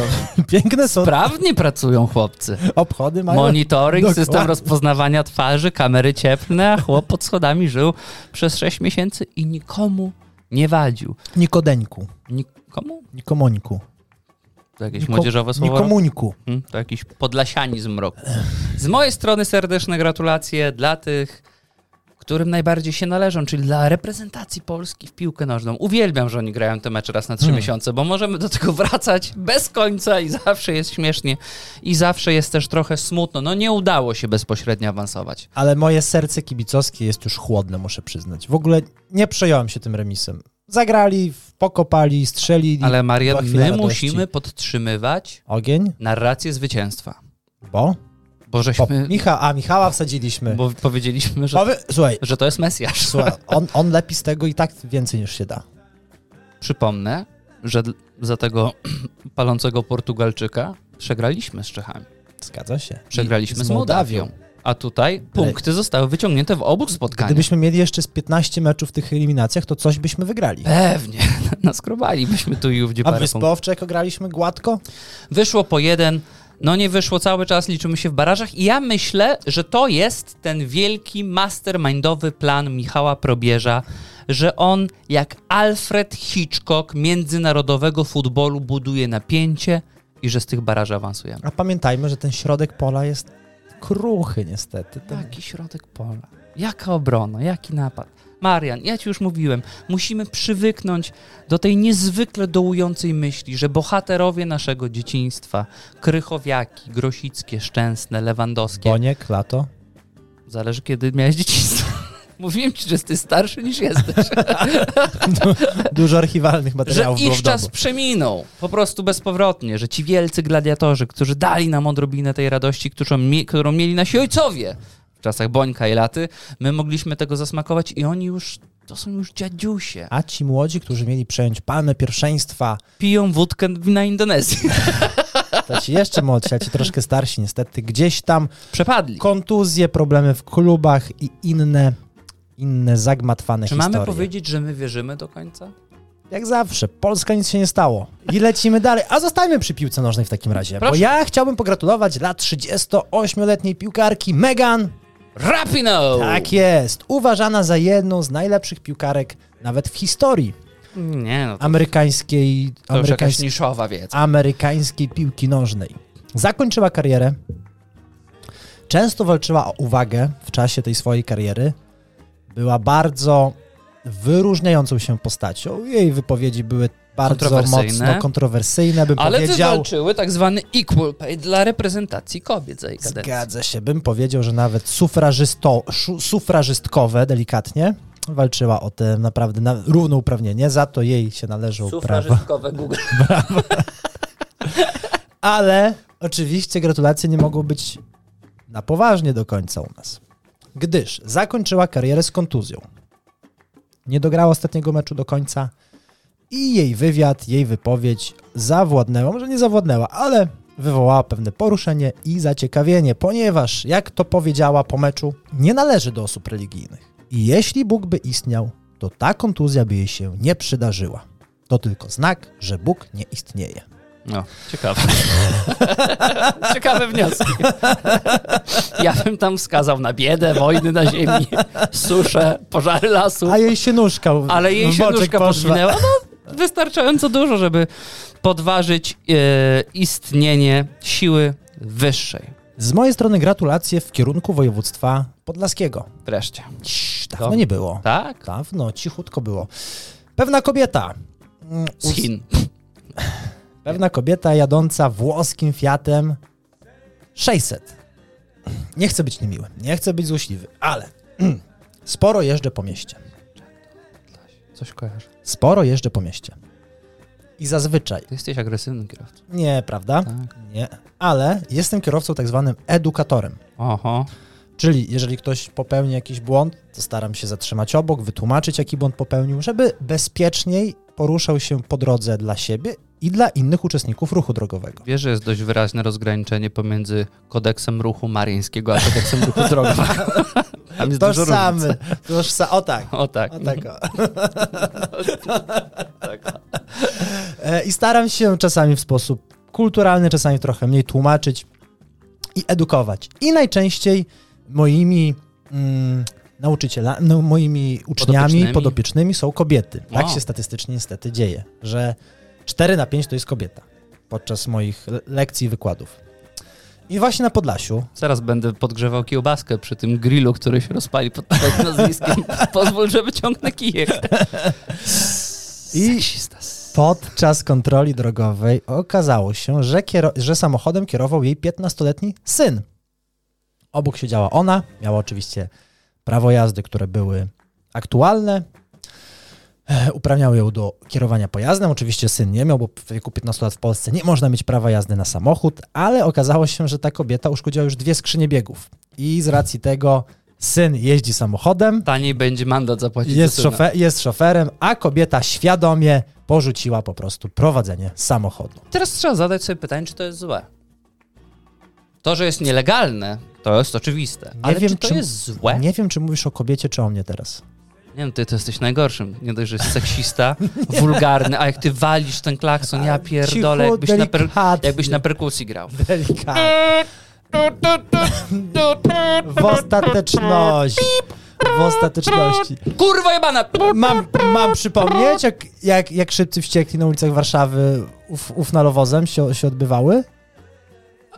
[SPEAKER 1] Piękne są.
[SPEAKER 2] Sprawnie pracują chłopcy.
[SPEAKER 1] Obchody mają.
[SPEAKER 2] Monitoring,
[SPEAKER 1] Dokładnie.
[SPEAKER 2] system rozpoznawania twarzy, kamery cieplne, a chłop pod schodami żył przez 6 miesięcy i nikomu nie wadził.
[SPEAKER 1] Nikodeńku.
[SPEAKER 2] Nikomu?
[SPEAKER 1] Nikomońku.
[SPEAKER 2] To jakieś
[SPEAKER 1] Niko-
[SPEAKER 2] młodzieżowe słowo?
[SPEAKER 1] Nikomuńku.
[SPEAKER 2] Hmm, to jakiś podlasianizm roku. Z mojej strony serdeczne gratulacje dla tych, którym najbardziej się należą, czyli dla reprezentacji Polski w piłkę nożną. Uwielbiam, że oni grają te mecze raz na
[SPEAKER 1] Hmm.
[SPEAKER 2] trzy miesiące, bo możemy do tego wracać bez końca i zawsze jest śmiesznie i zawsze jest też trochę smutno. No nie udało się bezpośrednio awansować.
[SPEAKER 1] Ale moje serce kibicowskie jest już chłodne, muszę przyznać. W ogóle nie przejąłem się tym remisem. Zagrali, pokopali, strzelili.
[SPEAKER 2] Ale Maria,
[SPEAKER 1] Była
[SPEAKER 2] my
[SPEAKER 1] chwila radości.
[SPEAKER 2] musimy podtrzymywać
[SPEAKER 1] Ogień?
[SPEAKER 2] narrację zwycięstwa.
[SPEAKER 1] Bo?
[SPEAKER 2] Bo
[SPEAKER 1] Bo
[SPEAKER 2] żeśmy,
[SPEAKER 1] Micha, a Michała wsadziliśmy.
[SPEAKER 2] bo powiedzieliśmy, że,
[SPEAKER 1] Powie, słuchaj,
[SPEAKER 2] że to jest Mesjasz.
[SPEAKER 1] słuchaj on, on lepi z tego i tak więcej niż się da.
[SPEAKER 2] Przypomnę, że dl- za tego palącego Portugalczyka przegraliśmy z Czechami.
[SPEAKER 1] Zgadza się.
[SPEAKER 2] Przegraliśmy
[SPEAKER 1] I
[SPEAKER 2] z Mołdawią. A tutaj punkty zostały wyciągnięte w obu spotkaniach.
[SPEAKER 1] Gdybyśmy mieli jeszcze z 15 meczów w tych eliminacjach, to coś byśmy wygrali.
[SPEAKER 2] Pewnie. Naskrobalibyśmy tu i ówdzie
[SPEAKER 1] A
[SPEAKER 2] E, parę punktów.
[SPEAKER 1] Wyspowczek ograliśmy gładko?
[SPEAKER 2] Wyszło po jeden, no nie wyszło cały czas, liczymy się w barażach i ja myślę, że to jest ten wielki mastermindowy plan Michała Probierza, że on jak Alfred Hitchcock międzynarodowego futbolu buduje napięcie i że z tych baraży awansujemy.
[SPEAKER 1] A pamiętajmy, że ten środek pola jest kruchy niestety. To
[SPEAKER 2] Taki środek pola. Jaka obrona, jaki napad. Marian, ja ci już mówiłem, musimy przywyknąć do tej niezwykle dołującej myśli, że bohaterowie naszego dzieciństwa, Krychowiaki, Grosickie, Szczęsne, Lewandowskie,
[SPEAKER 1] Boniek, lato.
[SPEAKER 2] zależy kiedy miałeś dzieciństwo. Mówiłem ci, że jesteś starszy niż jesteś,
[SPEAKER 1] Dużo archiwalnych
[SPEAKER 2] że
[SPEAKER 1] materiałów było w
[SPEAKER 2] ich czas
[SPEAKER 1] domu.
[SPEAKER 2] przeminął, po prostu bezpowrotnie, że ci wielcy gladiatorzy, którzy dali nam odrobinę tej radości, którą, mi, którą mieli nasi ojcowie w czasach Bońka i Laty, my mogliśmy tego zasmakować i oni już, to są już dziadziusie.
[SPEAKER 1] A ci młodzi, którzy mieli przejąć palmę pierwszeństwa,
[SPEAKER 2] Piją wódkę na Indonezji.
[SPEAKER 1] to ci jeszcze młodsi, a ci troszkę starsi niestety, gdzieś tam
[SPEAKER 2] Przepadli.
[SPEAKER 1] kontuzje, problemy w klubach i inne, inne zagmatwane
[SPEAKER 2] Czy
[SPEAKER 1] historie.
[SPEAKER 2] mamy powiedzieć, że my wierzymy do końca?
[SPEAKER 1] Jak zawsze, Polska nic się nie stało. I lecimy dalej. A zostańmy przy piłce nożnej w takim razie. Bo
[SPEAKER 2] Proszę.
[SPEAKER 1] ja chciałbym pogratulować dla 38-letniej piłkarki Megan.
[SPEAKER 2] Rapino!
[SPEAKER 1] Tak jest. Uważana za jedną z najlepszych piłkarek nawet w historii
[SPEAKER 2] Nie no, to,
[SPEAKER 1] amerykańskiej,
[SPEAKER 2] to już jakaś
[SPEAKER 1] amerykańskiej,
[SPEAKER 2] niszowa wiedza.
[SPEAKER 1] amerykańskiej piłki nożnej. Zakończyła karierę. Często walczyła o uwagę w czasie tej swojej kariery. Była bardzo wyróżniającą się postacią. Jej wypowiedzi były bardzo
[SPEAKER 2] Kontrowersyjne.
[SPEAKER 1] mocno kontrowersyjne, bym
[SPEAKER 2] Ale
[SPEAKER 1] powiedział.
[SPEAKER 2] wywalczyły tak zwany equal pay dla reprezentacji kobiet za jej kadencję.
[SPEAKER 1] Zgadza się, bym powiedział, że nawet sufrażysto, szu- sufrażystkowe, delikatnie, walczyła o te naprawdę na, równouprawnienie. Za to jej się należą prawa.
[SPEAKER 2] Sufrażystkowe Google.
[SPEAKER 1] Ale oczywiście gratulacje nie mogą być na poważnie do końca u nas. Gdyż zakończyła karierę z kontuzją. Nie dograła ostatniego meczu do końca i jej wywiad, jej wypowiedź zawładnęła, może nie zawładnęła, ale wywołała pewne poruszenie i zaciekawienie, ponieważ, jak to powiedziała po meczu, nie należy do osób religijnych. I jeśli Bóg by istniał, to ta kontuzja by jej się nie przydarzyła. To tylko znak, że Bóg nie istnieje.
[SPEAKER 2] No, ciekawe. ciekawe wnioski. ja bym tam wskazał na biedę, wojny na ziemi, suszę, pożary lasu,
[SPEAKER 1] A jej się nóżka w-
[SPEAKER 2] ale jej
[SPEAKER 1] w
[SPEAKER 2] się
[SPEAKER 1] boczek
[SPEAKER 2] nóżka
[SPEAKER 1] poszła.
[SPEAKER 2] podwinęła. No, wystarczająco dużo, żeby podważyć e, istnienie siły wyższej.
[SPEAKER 1] Z mojej strony gratulacje w kierunku województwa podlaskiego.
[SPEAKER 2] Wreszcie.
[SPEAKER 1] Ciii, Dawno
[SPEAKER 2] Dobrze.
[SPEAKER 1] nie było.
[SPEAKER 2] Tak?
[SPEAKER 1] Dawno, cichutko było. Pewna kobieta. mm,
[SPEAKER 2] Z Chin.
[SPEAKER 1] Pewna kobieta jadąca włoskim Fiatem 600. Nie chcę być niemiły, nie chcę być złośliwy, ale mm, sporo jeżdżę po mieście.
[SPEAKER 2] Coś kojarzę.
[SPEAKER 1] Sporo jeżdżę po mieście. I zazwyczaj,
[SPEAKER 2] Ty jesteś agresywny kierowca.
[SPEAKER 1] nie, prawda?
[SPEAKER 2] Tak.
[SPEAKER 1] Nie, ale jestem kierowcą tak zwanym edukatorem.
[SPEAKER 2] Oho.
[SPEAKER 1] Czyli jeżeli ktoś popełni jakiś błąd, to staram się zatrzymać obok, wytłumaczyć, jaki błąd popełnił, żeby bezpieczniej poruszał się po drodze dla siebie i dla innych uczestników ruchu drogowego.
[SPEAKER 2] Wiesz, że jest dość wyraźne rozgraniczenie pomiędzy kodeksem ruchu maryńskiego a kodeksem ruchu drogowego. Tam jest dużo różnic.
[SPEAKER 1] Tożsamy, tożsamy, o tak.
[SPEAKER 2] O tak.
[SPEAKER 1] O tak. o.
[SPEAKER 2] tak.
[SPEAKER 1] E, I staram się czasami w sposób kulturalny, czasami trochę mniej tłumaczyć i edukować. I najczęściej moimi mm, nauczycielami, no, moimi uczniami,
[SPEAKER 2] Podopiecznymi.
[SPEAKER 1] podopiecznymi, są kobiety. Tak
[SPEAKER 2] O.
[SPEAKER 1] się statystycznie niestety dzieje, że 4 na 5 to jest kobieta podczas moich le- lekcji i wykładów. I właśnie na Podlasiu,
[SPEAKER 2] Zaraz będę podgrzewał kiełbaskę przy tym grillu, który się rozpali pod twoim nazwiskiem. Pozwól, że wyciągnę kijek.
[SPEAKER 1] I-
[SPEAKER 2] Seksista.
[SPEAKER 1] podczas kontroli drogowej okazało się, że, kiero- że samochodem kierował jej 15-letni syn. Obok siedziała ona, miała oczywiście prawo jazdy, które były aktualne. E, Uprawniał ją do kierowania pojazdem. Oczywiście syn nie miał, bo w wieku 15 lat w Polsce nie można mieć prawa jazdy na samochód, ale okazało się, że ta kobieta uszkodziła już dwie skrzynie biegów. I z racji tego syn jeździ samochodem,
[SPEAKER 2] Taniej będzie mandat zapłacić
[SPEAKER 1] jest,
[SPEAKER 2] za syna.
[SPEAKER 1] szofe- jest szoferem, a kobieta świadomie porzuciła po prostu prowadzenie samochodu.
[SPEAKER 2] Teraz trzeba zadać sobie pytanie, czy to jest złe. To, że jest nielegalne, to jest oczywiste.
[SPEAKER 1] Nie
[SPEAKER 2] ale
[SPEAKER 1] wiem,
[SPEAKER 2] czy to
[SPEAKER 1] czy-
[SPEAKER 2] jest złe? Nie,
[SPEAKER 1] Nie wiem, czy mówisz o kobiecie, czy o mnie teraz.
[SPEAKER 2] wiem, no, ty to jesteś najgorszym. Nie dość, że jest seksista, wulgarny, a jak ty walisz ten klakson, ja pierdolę,
[SPEAKER 1] Cicho,
[SPEAKER 2] jakbyś na, per,
[SPEAKER 1] delikatnie.
[SPEAKER 2] jakbyś na perkusji grał.
[SPEAKER 1] Delikatnie. W ostateczności. W ostateczności.
[SPEAKER 2] Kurwa jebana!
[SPEAKER 1] Mam, mam przypomnieć, jak, jak, jak szybcy wściekli na ulicach Warszawy uf, uf nalowozem się, się odbywały?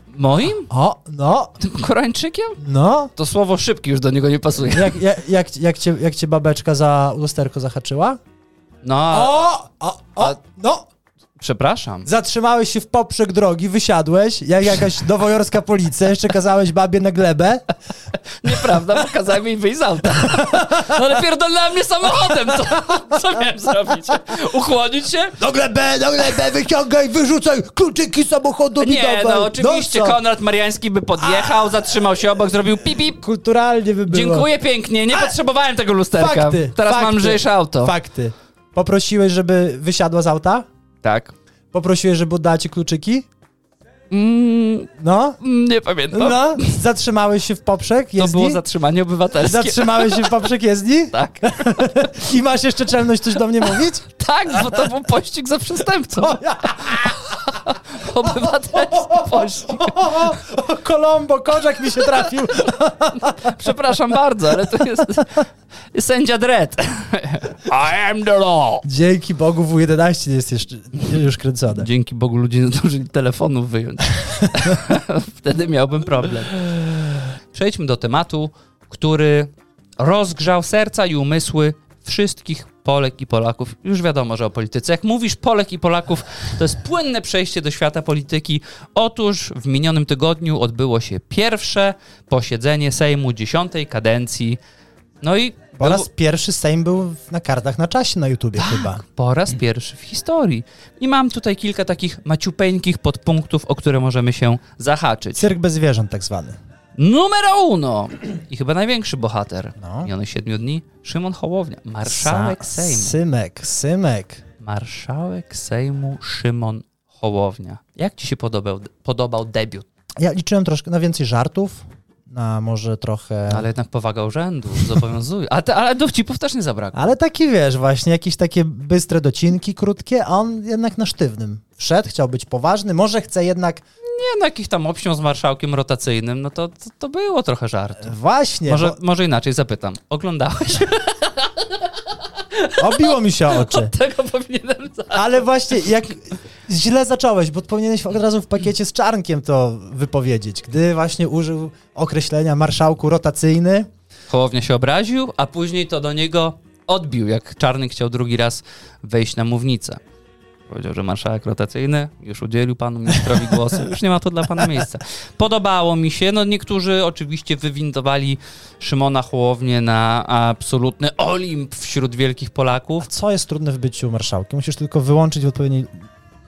[SPEAKER 2] Moim?
[SPEAKER 1] O, no,
[SPEAKER 2] Tym Koreańczykiem?
[SPEAKER 1] no.
[SPEAKER 2] To słowo szybki już do niego nie pasuje.
[SPEAKER 1] Jak, jak, jak, jak, cię, jak cię babeczka za lusterko zahaczyła?
[SPEAKER 2] No,
[SPEAKER 1] O, o, o, no.
[SPEAKER 2] przepraszam.
[SPEAKER 1] Zatrzymałeś się w poprzek drogi, wysiadłeś, jak jakaś nowojorska policja, jeszcze kazałeś babie na glebę.
[SPEAKER 2] Nieprawda, bo kazałem jej wyjść z auta. No ale pierdolnęła mnie samochodem, co, co miałem zrobić? Uchłonić się?
[SPEAKER 1] Na glebę, na glebę, wyciągaj, wyrzucaj kluczyki samochodu
[SPEAKER 2] Nie,
[SPEAKER 1] widowe.
[SPEAKER 2] no oczywiście
[SPEAKER 1] co?
[SPEAKER 2] Konrad Mariański by podjechał, zatrzymał się obok, zrobił pip pip.
[SPEAKER 1] Kulturalnie by było.
[SPEAKER 2] Dziękuję pięknie, nie potrzebowałem tego lusterka.
[SPEAKER 1] Fakty.
[SPEAKER 2] Teraz
[SPEAKER 1] fakty,
[SPEAKER 2] mam lżejsze auto.
[SPEAKER 1] Fakty. Poprosiłeś, żeby wysiadła z auta?
[SPEAKER 2] Tak.
[SPEAKER 1] Poprosiłeś, żeby oddała ci kluczyki?
[SPEAKER 2] Mm,
[SPEAKER 1] No?
[SPEAKER 2] nie pamiętam.
[SPEAKER 1] No? Zatrzymałeś się w poprzek
[SPEAKER 2] to
[SPEAKER 1] jezdni?
[SPEAKER 2] było zatrzymanie obywatelskie.
[SPEAKER 1] Zatrzymałeś się w poprzek jezdni?
[SPEAKER 2] tak.
[SPEAKER 1] I masz jeszcze czelność coś do mnie mówić?
[SPEAKER 2] tak, bo to był pościg za przestępcą. Obywatelski pościg.
[SPEAKER 1] O, Kolombo, korzak mi się trafił.
[SPEAKER 2] Przepraszam bardzo, ale to jest sędzia Dredd. I am the law.
[SPEAKER 1] Dzięki Bogu W11 jest jeszcze już kręcone.
[SPEAKER 2] Dzięki Bogu ludzie nie zdążyli telefonów wyjąć. Wtedy miałbym problem. Przejdźmy do tematu, który rozgrzał serca i umysły wszystkich Polek i Polaków. Już wiadomo, że o polityce. Jak mówisz Polek i Polaków, to jest płynne przejście do świata polityki. Otóż w minionym tygodniu odbyło się pierwsze posiedzenie Sejmu dziesiątej kadencji. No i
[SPEAKER 1] Po
[SPEAKER 2] było-
[SPEAKER 1] raz pierwszy Sejm był na kartach na czasie na YouTubie
[SPEAKER 2] Tak.
[SPEAKER 1] chyba.
[SPEAKER 2] po raz pierwszy w historii. I mam tutaj kilka takich maciupeńkich podpunktów, o które możemy się zahaczyć.
[SPEAKER 1] Cyrk bez zwierząt tak zwany.
[SPEAKER 2] Numero uno i chyba największy bohater
[SPEAKER 1] No.
[SPEAKER 2] minionych siedmiu dni, Szymon Hołownia, marszałek
[SPEAKER 1] Sa-
[SPEAKER 2] Sejmu.
[SPEAKER 1] Symek, Symek.
[SPEAKER 2] Marszałek Sejmu Szymon Hołownia. Jak ci się podobał, podobał debiut?
[SPEAKER 1] Ja liczyłem troszkę na więcej żartów, na może trochę...
[SPEAKER 2] Ale jednak powaga urzędu zobowiązuje. A te, ale dowcipów też nie zabrakło.
[SPEAKER 1] Ale taki wiesz, właśnie jakieś takie bystre docinki, krótkie, a on jednak na sztywnym. Wszedł, chciał być poważny, może chce jednak.
[SPEAKER 2] Nie, no jakich tam obsią z marszałkiem rotacyjnym, no to, to, to było trochę żartu.
[SPEAKER 1] Właśnie,
[SPEAKER 2] Może,
[SPEAKER 1] bo
[SPEAKER 2] może inaczej zapytam. Oglądałeś?
[SPEAKER 1] obiło mi się oczy.
[SPEAKER 2] Od tego powinienem za...
[SPEAKER 1] Ale właśnie, jak źle zacząłeś, bo powinieneś od razu w pakiecie z czarnkiem to wypowiedzieć, gdy właśnie użył określenia marszałku rotacyjny.
[SPEAKER 2] Hołownia się obraził, a później to do niego odbił, jak Czarny chciał drugi raz wejść na mównicę. Powiedział, że marszałek rotacyjny już udzielił panu ministrowi głosu, już nie ma tu dla pana miejsca. Podobało mi się, no niektórzy oczywiście wywindowali Szymona Hołownię na absolutny olimp wśród wielkich Polaków
[SPEAKER 1] Co jest trudne w byciu marszałkiem? Musisz tylko wyłączyć w odpowiednim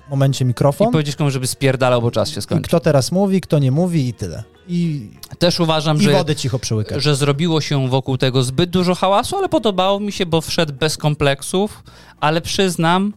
[SPEAKER 1] momencie
[SPEAKER 2] i
[SPEAKER 1] mikrofon.
[SPEAKER 2] powiedzieć komuś, żeby spierdalał, bo czas się
[SPEAKER 1] I
[SPEAKER 2] skończył.
[SPEAKER 1] kto teraz mówi, kto nie mówi i tyle. I,
[SPEAKER 2] Też uważam,
[SPEAKER 1] i
[SPEAKER 2] że
[SPEAKER 1] wodę cicho przyłykasz.
[SPEAKER 2] że zrobiło się wokół tego zbyt dużo hałasu, ale podobało mi się, bo wszedł bez kompleksów, ale przyznam,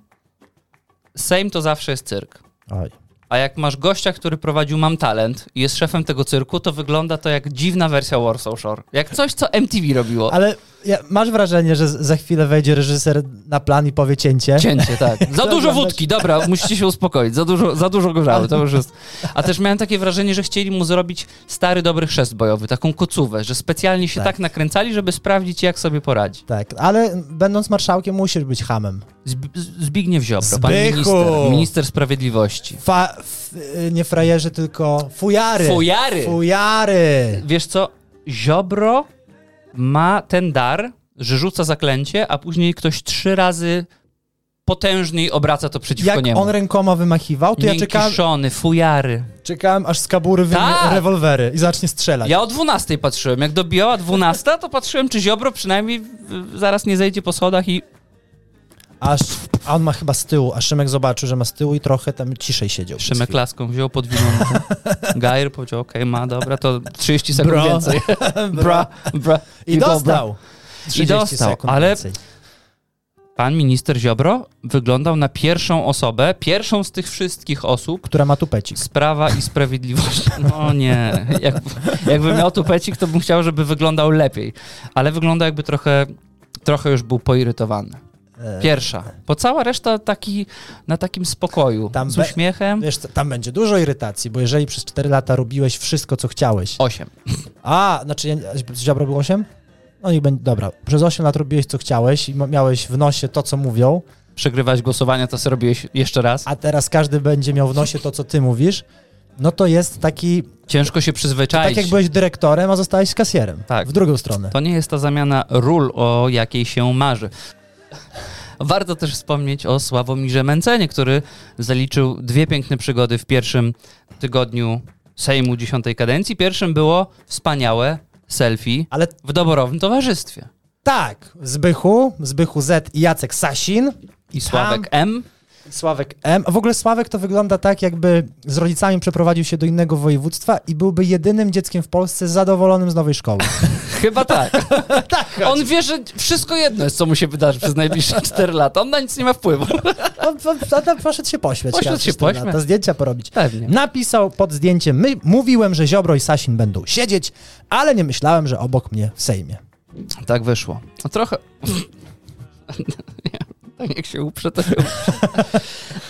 [SPEAKER 2] Sejm to zawsze jest cyrk.
[SPEAKER 1] Oj.
[SPEAKER 2] A jak masz gościa, który prowadził Mam Talent i jest szefem tego cyrku, to wygląda to jak dziwna wersja Warsaw Shore. Jak coś, co MTV robiło.
[SPEAKER 1] Ale ja, masz wrażenie, że z- za chwilę wejdzie reżyser na plan i powie cięcie?
[SPEAKER 2] Cięcie, tak. Za dużo
[SPEAKER 1] Oglądać-
[SPEAKER 2] wódki, dobra, musicie się uspokoić. Za dużo, za dużo gorzały, to już jest. A też miałem takie wrażenie, że chcieli mu zrobić stary, dobry chrzest bojowy, taką kocówę, że specjalnie się tak,
[SPEAKER 1] Tak.
[SPEAKER 2] tak nakręcali, żeby sprawdzić, jak sobie poradzi.
[SPEAKER 1] Tak, ale będąc marszałkiem musisz być hamem.
[SPEAKER 2] Zb- Zbigniew Ziobro, pan
[SPEAKER 1] Zbychu!
[SPEAKER 2] minister, minister sprawiedliwości.
[SPEAKER 1] Fa, f, y, nie frajerzy, tylko fujary.
[SPEAKER 2] Fujary!
[SPEAKER 1] Fujary.
[SPEAKER 2] Wiesz co, Ziobro ma ten dar, że rzuca zaklęcie, a później ktoś trzy razy potężniej obraca to przeciwko
[SPEAKER 1] Jak
[SPEAKER 2] niemu.
[SPEAKER 1] on rękoma wymachiwał, to ja czekałem,
[SPEAKER 2] Miękiszony, fujary.
[SPEAKER 1] czekałem aż z kabury
[SPEAKER 2] Tak!
[SPEAKER 1] wyjmie rewolwery i zacznie strzelać.
[SPEAKER 2] Ja o 12 patrzyłem. Jak dobijała 12, to patrzyłem, czy Ziobro przynajmniej y, zaraz nie zejdzie po schodach i
[SPEAKER 1] Aż, a on ma chyba z tyłu, a Szymek zobaczył, że ma z tyłu i trochę tam ciszej siedział. przez
[SPEAKER 2] Szymek
[SPEAKER 1] chwilę.
[SPEAKER 2] laską wziął, podwinął mu to. Gajer powiedział, okej, ma, dobra, to 30 sekund
[SPEAKER 1] Bro.
[SPEAKER 2] więcej. Bra, bra.
[SPEAKER 1] I
[SPEAKER 2] dobra.
[SPEAKER 1] dostał. 30
[SPEAKER 2] dostał,
[SPEAKER 1] sekund
[SPEAKER 2] ale-
[SPEAKER 1] więcej.
[SPEAKER 2] Pan minister Ziobro wyglądał na pierwszą osobę, pierwszą z tych wszystkich osób,
[SPEAKER 1] Która ma tupecik.
[SPEAKER 2] Sprawa i Sprawiedliwość. No nie. Jak, jakby miał tu pecik, to bym chciał, żeby wyglądał lepiej. Ale wygląda jakby trochę, trochę już był poirytowany.
[SPEAKER 1] E,
[SPEAKER 2] Pierwsza. Bo cała reszta taki, na takim spokoju.
[SPEAKER 1] Tam
[SPEAKER 2] z
[SPEAKER 1] be-
[SPEAKER 2] uśmiechem.
[SPEAKER 1] Wiesz, co, tam będzie dużo irytacji, bo jeżeli przez 4 lata robiłeś wszystko, co chciałeś.
[SPEAKER 2] Osiem.
[SPEAKER 1] A, znaczy, ja- Ziobro był 8? No i będzie, dobra. Przez 8 lat robiłeś, co chciałeś i ma- miałeś w nosie to, co mówią,
[SPEAKER 2] Przegrywać głosowania, to sobie robiłeś jeszcze raz.
[SPEAKER 1] a teraz każdy będzie miał w nosie to, co ty mówisz, no to jest taki,
[SPEAKER 2] Ciężko się przyzwyczaić.
[SPEAKER 1] tak jak byłeś dyrektorem, a zostałeś kasjerem.
[SPEAKER 2] Tak.
[SPEAKER 1] W drugą stronę.
[SPEAKER 2] To nie jest ta zamiana ról, o jakiej się marzy. Warto też wspomnieć o Sławomirze Męcenie, który zaliczył dwie piękne przygody w pierwszym tygodniu Sejmu X kadencji. Pierwszym było wspaniałe selfie
[SPEAKER 1] Ale
[SPEAKER 2] w doborowym towarzystwie.
[SPEAKER 1] tak, Zbychu, Zbychu Z i Jacek Sasin,
[SPEAKER 2] I Sławek M.
[SPEAKER 1] Sławek M. A w ogóle Sławek to wygląda tak, jakby z rodzicami przeprowadził się do innego województwa i byłby jedynym dzieckiem w Polsce zadowolonym z nowej szkoły.
[SPEAKER 2] Chyba tak. On wie, że wszystko jedno jest, co mu się wydarzy przez najbliższe 4 lata. On na nic nie ma wpływu.
[SPEAKER 1] On, on, on poszedł się pośmiać.
[SPEAKER 2] Poszedł
[SPEAKER 1] Kasus,
[SPEAKER 2] się
[SPEAKER 1] to na-
[SPEAKER 2] pośmiać.
[SPEAKER 1] To zdjęcia porobić.
[SPEAKER 2] Pewnie.
[SPEAKER 1] Napisał pod zdjęciem, my, mówiłem, że Ziobro i Sasin będą siedzieć, ale nie myślałem, że obok mnie w Sejmie.
[SPEAKER 2] Tak wyszło. No trochę. Nie, tak jak się uprze, to się uprze.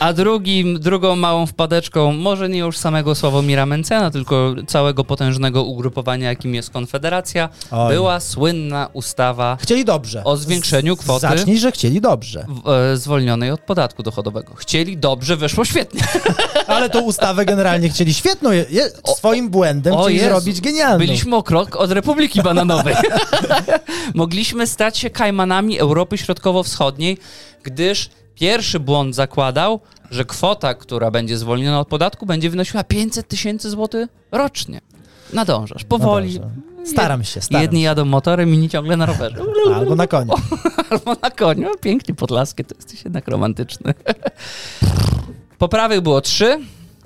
[SPEAKER 2] A drugim, drugą małą wpadeczką, może nie już samego Sławomira Mencena, tylko całego potężnego ugrupowania, jakim jest Konfederacja,
[SPEAKER 1] Oj.
[SPEAKER 2] była słynna ustawa
[SPEAKER 1] Chcieli dobrze.
[SPEAKER 2] O zwiększeniu
[SPEAKER 1] Z-
[SPEAKER 2] kwoty.
[SPEAKER 1] Zacznij, że chcieli dobrze.
[SPEAKER 2] w, e, zwolnionej od podatku dochodowego. Chcieli dobrze, wyszło świetnie.
[SPEAKER 1] Ale tą ustawę generalnie chcieli świetną, je, je,
[SPEAKER 2] O-
[SPEAKER 1] swoim błędem chcieli
[SPEAKER 2] Jezu,
[SPEAKER 1] zrobić genialną.
[SPEAKER 2] Byliśmy o krok od Republiki Bananowej. Mogliśmy stać się kajmanami Europy Środkowo-Wschodniej, gdyż pierwszy błąd zakładał, że kwota, która będzie zwolniona od podatku, będzie wynosiła 500 tysięcy złotych rocznie. Nadążasz,
[SPEAKER 1] No
[SPEAKER 2] powoli.
[SPEAKER 1] dobrze. staram się, staram
[SPEAKER 2] Jedni jadą motorem, inni ciągle na rowerze.
[SPEAKER 1] się. Albo na koniec.
[SPEAKER 2] Albo na koniu. Pięknie podlaskie, to jesteś jednak romantyczny. Poprawek było trzy,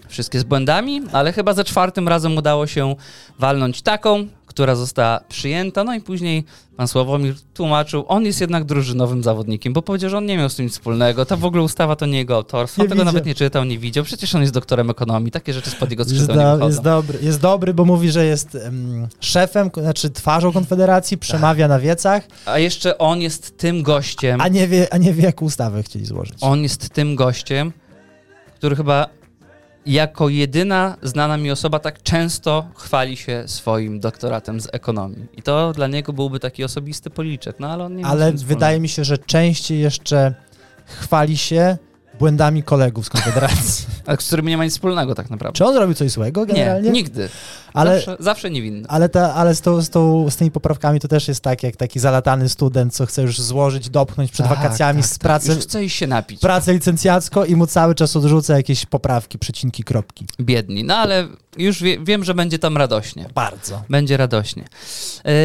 [SPEAKER 2] wszystkie z błędami, ale chyba za czwartym razem udało się walnąć taką, która została przyjęta. No i później pan Sławomir tłumaczył, on jest jednak drużynowym zawodnikiem, bo powiedział, że on nie miał z tym nic wspólnego. Ta w ogóle ustawa to nie jego autorstwo.
[SPEAKER 1] Nie
[SPEAKER 2] On tego
[SPEAKER 1] widział.
[SPEAKER 2] nawet nie czytał, nie widział. Przecież on jest doktorem ekonomii. Takie rzeczy spod jego
[SPEAKER 1] Jest,
[SPEAKER 2] skrzydeł nie
[SPEAKER 1] do,
[SPEAKER 2] wychodzą.
[SPEAKER 1] jest, dobry, jest dobry, bo mówi, że jest em, szefem, ko- znaczy twarzą Konfederacji, przemawia na wiecach,
[SPEAKER 2] A jeszcze on jest tym gościem,
[SPEAKER 1] a nie wie, a nie wie jaką ustawę chcieli złożyć.
[SPEAKER 2] On jest tym gościem, który chyba jako jedyna znana mi osoba tak często chwali się swoim doktoratem z ekonomii. I to dla niego byłby taki osobisty policzek, no ale on nie ma
[SPEAKER 1] Ale
[SPEAKER 2] z tym wspólnego.
[SPEAKER 1] wydaje mi się, że częściej jeszcze chwali się błędami kolegów z Konfederacji.
[SPEAKER 2] A z którym nie ma nic wspólnego tak naprawdę.
[SPEAKER 1] Czy on zrobił coś złego
[SPEAKER 2] Nie,
[SPEAKER 1] generalnie?
[SPEAKER 2] nigdy.
[SPEAKER 1] ale
[SPEAKER 2] Zawsze, zawsze niewinny.
[SPEAKER 1] ale, ta, ale z, tą, z, tą, z tymi poprawkami to też jest tak, jak taki zalatany student, co chce już złożyć, dopchnąć przed
[SPEAKER 2] Tak,
[SPEAKER 1] wakacjami
[SPEAKER 2] tak,
[SPEAKER 1] z
[SPEAKER 2] tak.
[SPEAKER 1] pracy,
[SPEAKER 2] Już chce iść się napić.
[SPEAKER 1] pracę licencjacką i mu cały czas odrzuca jakieś poprawki, przecinki, kropki.
[SPEAKER 2] Biedni. No ale już wie, wiem, że będzie tam radośnie.
[SPEAKER 1] Bardzo.
[SPEAKER 2] Będzie radośnie.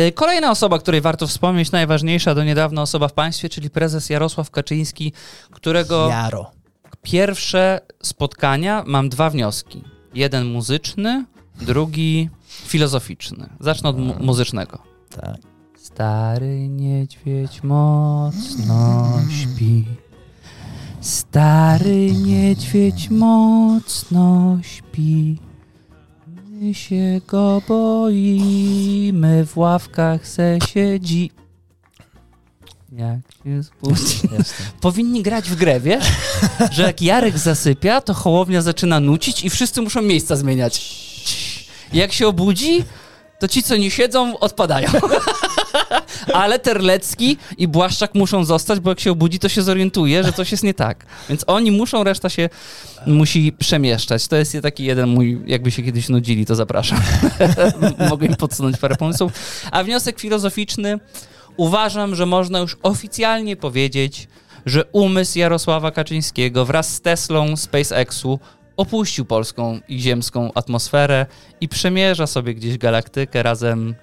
[SPEAKER 2] Yy, Kolejna osoba, której warto wspomnieć, najważniejsza do niedawna osoba w państwie, czyli prezes Jarosław Kaczyński, którego
[SPEAKER 1] Jaro.
[SPEAKER 2] pierwsze spotkania mam dwa wnioski. Jeden muzyczny, drugi filozoficzny. Zacznę od mu- muzycznego.
[SPEAKER 1] Tak.
[SPEAKER 2] Stary niedźwiedź mocno śpi. Stary niedźwiedź mocno śpi. My się go boimy, w ławkach se siedzi. Jak się zbudzi.
[SPEAKER 1] Jestem.
[SPEAKER 2] Powinni grać w grę, wiesz? Że jak Jarek zasypia, to hołownia zaczyna nucić i wszyscy muszą miejsca zmieniać. Jak się obudzi, to ci, co nie siedzą, odpadają. Ale Terlecki i Błaszczak muszą zostać, bo jak się obudzi, to się zorientuje, że coś jest nie tak. Więc oni muszą, reszta się musi przemieszczać. To jest taki jeden mój, jakby się kiedyś nudzili, to zapraszam. Mogę im podsunąć parę pomysłów. A wniosek filozoficzny. Uważam, że można już oficjalnie powiedzieć, że umysł Jarosława Kaczyńskiego wraz z Teslą SpaceXu opuścił polską i ziemską atmosferę i przemierza sobie gdzieś galaktykę razem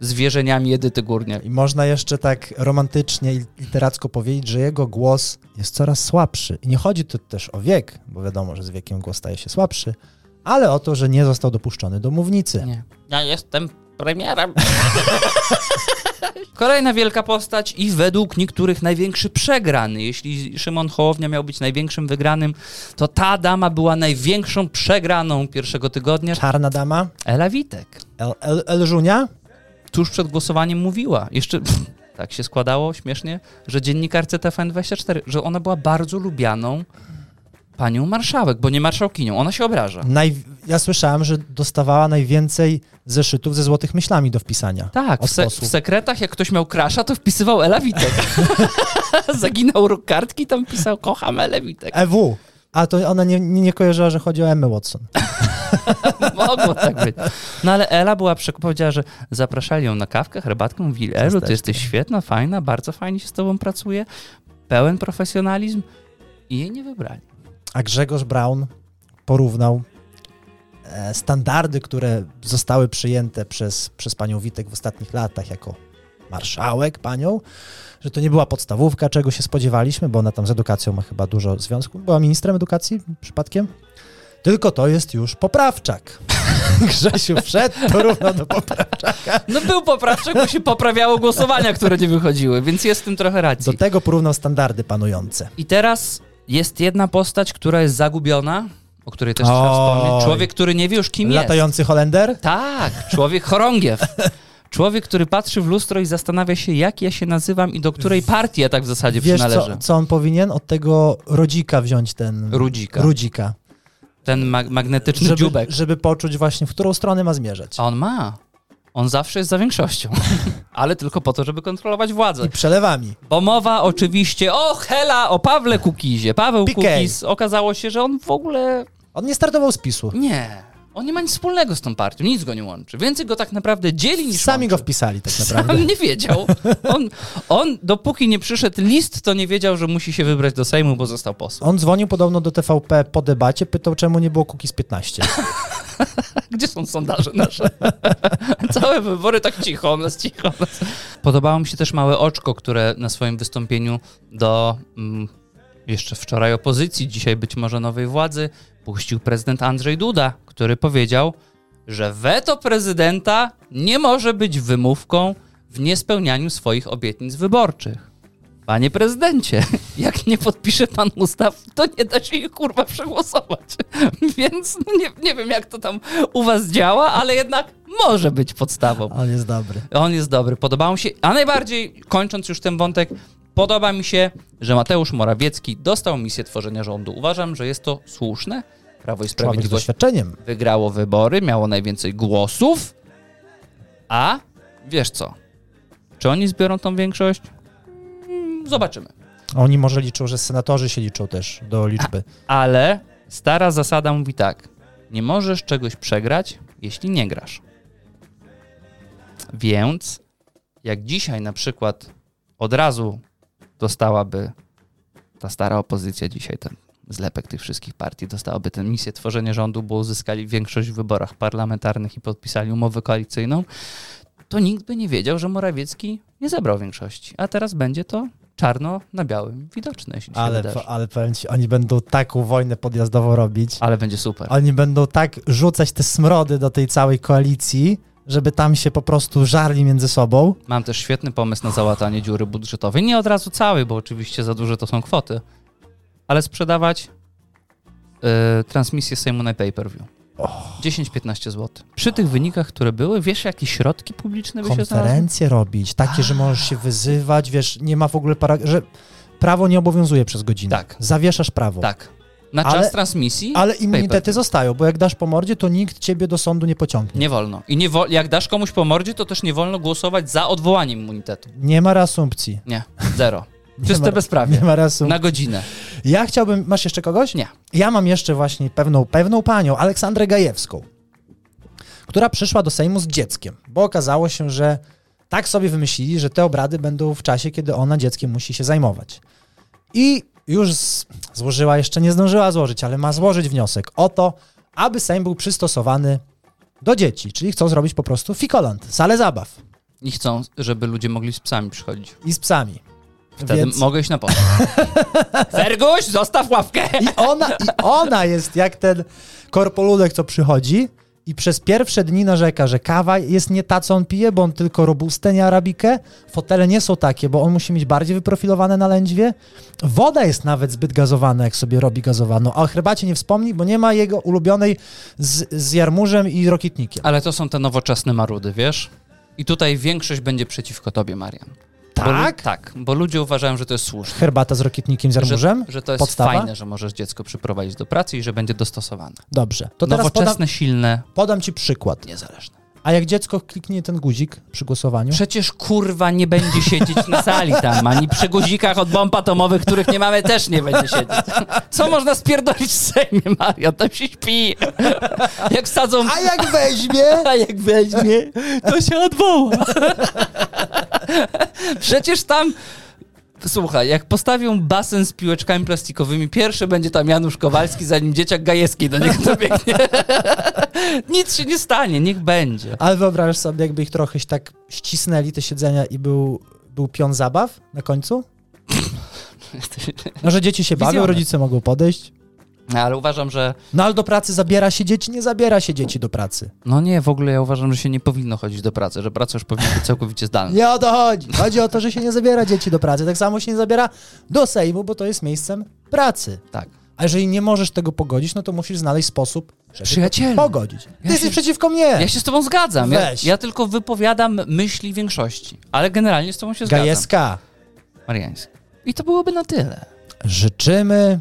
[SPEAKER 2] z wierzeniami Edyty Górniak.
[SPEAKER 1] I można jeszcze tak romantycznie i literacko powiedzieć, że jego głos jest coraz słabszy. I nie chodzi tu też o wiek, bo wiadomo, że z wiekiem głos staje się słabszy, ale o to, że nie został dopuszczony do mównicy.
[SPEAKER 2] Nie. Ja jestem premierem. Kolejna wielka postać i według niektórych największy przegrany. Jeśli Szymon Hołownia miał być największym wygranym, to ta dama była największą przegraną pierwszego tygodnia.
[SPEAKER 1] Czarna dama,
[SPEAKER 2] Ela Witek.
[SPEAKER 1] El, El, El Żunia,
[SPEAKER 2] Tuż przed głosowaniem mówiła, jeszcze tak się składało śmiesznie, że dziennikarce TVN24, że ona była bardzo lubianą panią marszałek, bo nie marszałkinią. Ona się obraża.
[SPEAKER 1] naj, ja słyszałem, że dostawała najwięcej zeszytów ze złotych myślami do wpisania.
[SPEAKER 2] Tak,
[SPEAKER 1] Od
[SPEAKER 2] w, se- w
[SPEAKER 1] posłów.
[SPEAKER 2] sekretach jak ktoś miał krasza, to wpisywał Ela Witek. Zaginał róg kartki, tam pisał kocham Elę Witek.
[SPEAKER 1] EW, E a to ona nie, nie, nie kojarzyła, że chodzi o Emmę Watson.
[SPEAKER 2] Mogło tak być. No ale Ela była, przek- powiedziała, że zapraszali ją na kawkę, herbatkę, mówili Elu, ty
[SPEAKER 1] Ciasteczko.
[SPEAKER 2] jesteś świetna, fajna, bardzo fajnie się z tobą pracuje, pełen profesjonalizm i jej nie wybrali.
[SPEAKER 1] A Grzegorz Brown porównał e, standardy, które zostały przyjęte przez, przez panią Witek w ostatnich latach jako marszałek panią, że to nie była podstawówka, czego się spodziewaliśmy, bo ona tam z edukacją ma chyba dużo związków. Była ministrem edukacji przypadkiem. Tylko to jest już poprawczak. Grzesiu wszedł, porównał do poprawczaka.
[SPEAKER 2] No był poprawczek, bo się poprawiało głosowania, które nie wychodziły, więc jest w tym trochę
[SPEAKER 1] Do
[SPEAKER 2] racji.
[SPEAKER 1] tego porównał standardy panujące.
[SPEAKER 2] I teraz jest jedna postać, która jest zagubiona, o której też trzeba
[SPEAKER 1] Oj.
[SPEAKER 2] wspomnieć. Człowiek, który nie wie już kim jest.
[SPEAKER 1] Latający Holender?
[SPEAKER 2] Tak, człowiek chorągiew. Człowiek, który patrzy w lustro i zastanawia się, jak ja się nazywam i do której partii ja tak w zasadzie
[SPEAKER 1] Wiesz,
[SPEAKER 2] przynależę.
[SPEAKER 1] co, co on powinien? Od tego rodzika wziąć ten...
[SPEAKER 2] Rudzika.
[SPEAKER 1] Rudzika.
[SPEAKER 2] Ten mag- magnetyczny
[SPEAKER 1] żeby,
[SPEAKER 2] dziubek.
[SPEAKER 1] żeby poczuć właśnie, w którą stronę ma zmierzać.
[SPEAKER 2] A on ma. On zawsze jest za większością. Ale tylko po to, żeby kontrolować władzę.
[SPEAKER 1] I przelewami.
[SPEAKER 2] Bo mowa oczywiście o Hela, o Pawle Kukizie. Paweł
[SPEAKER 1] PK.
[SPEAKER 2] Kukiz okazało się, że on w ogóle
[SPEAKER 1] On nie startował z PiSu.
[SPEAKER 2] Nie. On nie ma nic wspólnego z tą partią, nic go nie łączy. Więcej go tak naprawdę dzieli niż
[SPEAKER 1] Sami
[SPEAKER 2] łączy.
[SPEAKER 1] go wpisali tak naprawdę.
[SPEAKER 2] Sam nie wiedział. On, on, dopóki nie przyszedł list, to nie wiedział, że musi się wybrać do Sejmu, bo został posłem.
[SPEAKER 1] On dzwonił podobno do TVP po debacie, pytał czemu nie było Kukiz 15.
[SPEAKER 2] Gdzie są sondaże nasze? Całe wybory tak cicho, u nas cicho. u Nas. Podobało mi się też małe oczko, które na swoim wystąpieniu do mm, jeszcze wczoraj opozycji, dzisiaj być może nowej władzy, puścił prezydent Andrzej Duda, który powiedział, że weto prezydenta nie może być wymówką w niespełnianiu swoich obietnic wyborczych. Panie prezydencie, jak nie podpisze pan ustaw, to nie da się ich kurwa przegłosować. Więc no nie, nie wiem, jak to tam u was działa, ale jednak może być podstawą.
[SPEAKER 1] On jest dobry.
[SPEAKER 2] On jest dobry, podobał mi się. A najbardziej, kończąc już ten wątek, podoba mi się, że Mateusz Morawiecki dostał misję tworzenia rządu. Uważam, że jest to słuszne. Prawo i
[SPEAKER 1] Człowiek z
[SPEAKER 2] Sprawiedliwość
[SPEAKER 1] doświadczeniem.
[SPEAKER 2] wygrało wybory, miało najwięcej głosów. A wiesz co? Czy oni zbiorą tą większość? Mm, Zobaczymy.
[SPEAKER 1] Oni może liczą, że senatorzy się liczą też do liczby.
[SPEAKER 2] Ale stara zasada mówi tak: nie możesz czegoś przegrać, jeśli nie grasz. Więc jak dzisiaj na przykład od razu dostałaby ta stara opozycja dzisiaj ten zlepek tych wszystkich partii dostałaby tę misję tworzenia rządu, bo uzyskali większość w wyborach parlamentarnych i podpisali umowę koalicyjną, to nikt by nie wiedział, że Morawiecki nie zebrał większości. A teraz będzie to czarno na białym widoczne, jeśli się
[SPEAKER 1] Ale,
[SPEAKER 2] wydarzy.
[SPEAKER 1] ale powiem ci, oni będą taką wojnę podjazdową robić.
[SPEAKER 2] Ale będzie super.
[SPEAKER 1] Oni będą tak rzucać te smrody do tej całej koalicji, żeby tam się po prostu żarli między sobą.
[SPEAKER 2] Mam też świetny pomysł na załatanie dziury budżetowej. Nie od razu całej, bo oczywiście za duże to są kwoty. Ale sprzedawać yy, transmisję Sejmu na pay-per-view. 10-15 zł. Przy tych wynikach, które były, wiesz, jakie środki publiczne by się znalazły?
[SPEAKER 1] konferencje robić, takie, że możesz się wyzywać, wiesz, nie ma w ogóle para, że prawo nie obowiązuje przez godzinę.
[SPEAKER 2] Tak.
[SPEAKER 1] Zawieszasz prawo.
[SPEAKER 2] Tak. No Na
[SPEAKER 1] Ale-
[SPEAKER 2] czas transmisji
[SPEAKER 1] Ale
[SPEAKER 2] pay-per-view.
[SPEAKER 1] immunitety zostają, bo jak dasz po mordzie, to nikt ciebie do sądu nie pociągnie.
[SPEAKER 2] Nie wolno. I nie wo- jak dasz komuś po mordzie, to też nie wolno głosować za odwołaniem immunitetu.
[SPEAKER 1] Nie ma reasumpcji.
[SPEAKER 2] Nie, zero.
[SPEAKER 1] Nie
[SPEAKER 2] Czyste
[SPEAKER 1] ma-
[SPEAKER 2] bezprawie.
[SPEAKER 1] Nie ma reasumpcji.
[SPEAKER 2] Na godzinę.
[SPEAKER 1] Ja chciałbym, masz jeszcze kogoś?
[SPEAKER 2] Nie.
[SPEAKER 1] Ja mam jeszcze właśnie pewną, pewną panią, Aleksandrę Gajewską, która przyszła do Sejmu z dzieckiem, bo okazało się, że tak sobie wymyślili, że te obrady będą w czasie, kiedy ona dzieckiem musi się zajmować. I już z, złożyła, jeszcze nie zdążyła złożyć, ale ma złożyć wniosek o to, aby Sejm był przystosowany do dzieci, czyli chcą zrobić po prostu fikoland, salę zabaw.
[SPEAKER 2] I chcą, żeby ludzie mogli z psami przychodzić.
[SPEAKER 1] i z psami.
[SPEAKER 2] Wtedy
[SPEAKER 1] Więc...
[SPEAKER 2] mogę iść na pomoc. Ferguś, zostaw ławkę!
[SPEAKER 1] I ona, I ona jest jak ten korpoludek, co przychodzi i przez pierwsze dni narzeka, że kawa jest nie ta, co on pije, bo on tylko robustę, nie arabikę. Fotele nie są takie, bo on musi mieć bardziej wyprofilowane na lędźwie. Woda jest nawet zbyt gazowana, jak sobie robi gazowaną. A o herbacie nie wspomni, bo nie ma jego ulubionej z, z jarmużem i rokitnikiem.
[SPEAKER 2] Ale to są te nowoczesne marudy, wiesz? I tutaj większość będzie przeciwko tobie, Marian. Bo, lu-
[SPEAKER 1] Tak?
[SPEAKER 2] tak, bo ludzie uważają, że to jest słuszne.
[SPEAKER 1] Herbata z rokitnikiem, z jarmużem?
[SPEAKER 2] Że, że to jest
[SPEAKER 1] Podstawa?
[SPEAKER 2] fajne, że możesz dziecko przyprowadzić do pracy i że będzie dostosowane.
[SPEAKER 1] Dobrze. To teraz
[SPEAKER 2] Nowoczesne,
[SPEAKER 1] podam,
[SPEAKER 2] silne,
[SPEAKER 1] podam ci przykład.
[SPEAKER 2] niezależne.
[SPEAKER 1] A jak dziecko kliknie ten guzik przy głosowaniu?
[SPEAKER 2] Przecież kurwa nie będzie siedzieć na sali tam, ani przy guzikach od bomb atomowych, których nie mamy, też nie będzie siedzieć. Co można spierdolić w Sejmie, Mario? Tam się śpi. Jak sadzą...
[SPEAKER 1] A jak weźmie?
[SPEAKER 2] A jak weźmie, to się odwoła. Przecież tam... Słuchaj, jak postawią basen z piłeczkami plastikowymi, pierwszy będzie tam Janusz Kowalski, zanim dzieciak Gajewski do niego dobiegnie. Nic się nie stanie, niech będzie.
[SPEAKER 1] Ale wyobrażasz sobie, jakby ich trochę tak ścisnęli te siedzenia i był, był pion zabaw na końcu? No, że dzieci się bawią,
[SPEAKER 2] Wizjoner.
[SPEAKER 1] rodzice mogą podejść.
[SPEAKER 2] No, ale uważam, że
[SPEAKER 1] No ale do pracy zabiera się dzieci, nie zabiera się dzieci do pracy.
[SPEAKER 2] No nie, w ogóle ja uważam, że się nie powinno chodzić do pracy, że praca już powinna być całkowicie zdalna.
[SPEAKER 1] Nie o to chodzi. Chodzi o to, że się nie zabiera dzieci do pracy. Tak samo się nie zabiera do Sejmu, bo to jest miejscem pracy.
[SPEAKER 2] Tak.
[SPEAKER 1] A jeżeli nie możesz tego pogodzić, no to musisz znaleźć sposób, żeby
[SPEAKER 2] Przyjacielu.
[SPEAKER 1] to pogodzić. Ty
[SPEAKER 2] Ja
[SPEAKER 1] jesteś
[SPEAKER 2] się-
[SPEAKER 1] przeciwko mnie.
[SPEAKER 2] Ja się z tobą zgadzam. Ja,
[SPEAKER 1] Weź.
[SPEAKER 2] ja tylko wypowiadam myśli większości, ale generalnie z tobą się zgadzam.
[SPEAKER 1] Gajeska.
[SPEAKER 2] Mariański. I to byłoby na tyle.
[SPEAKER 1] Życzymy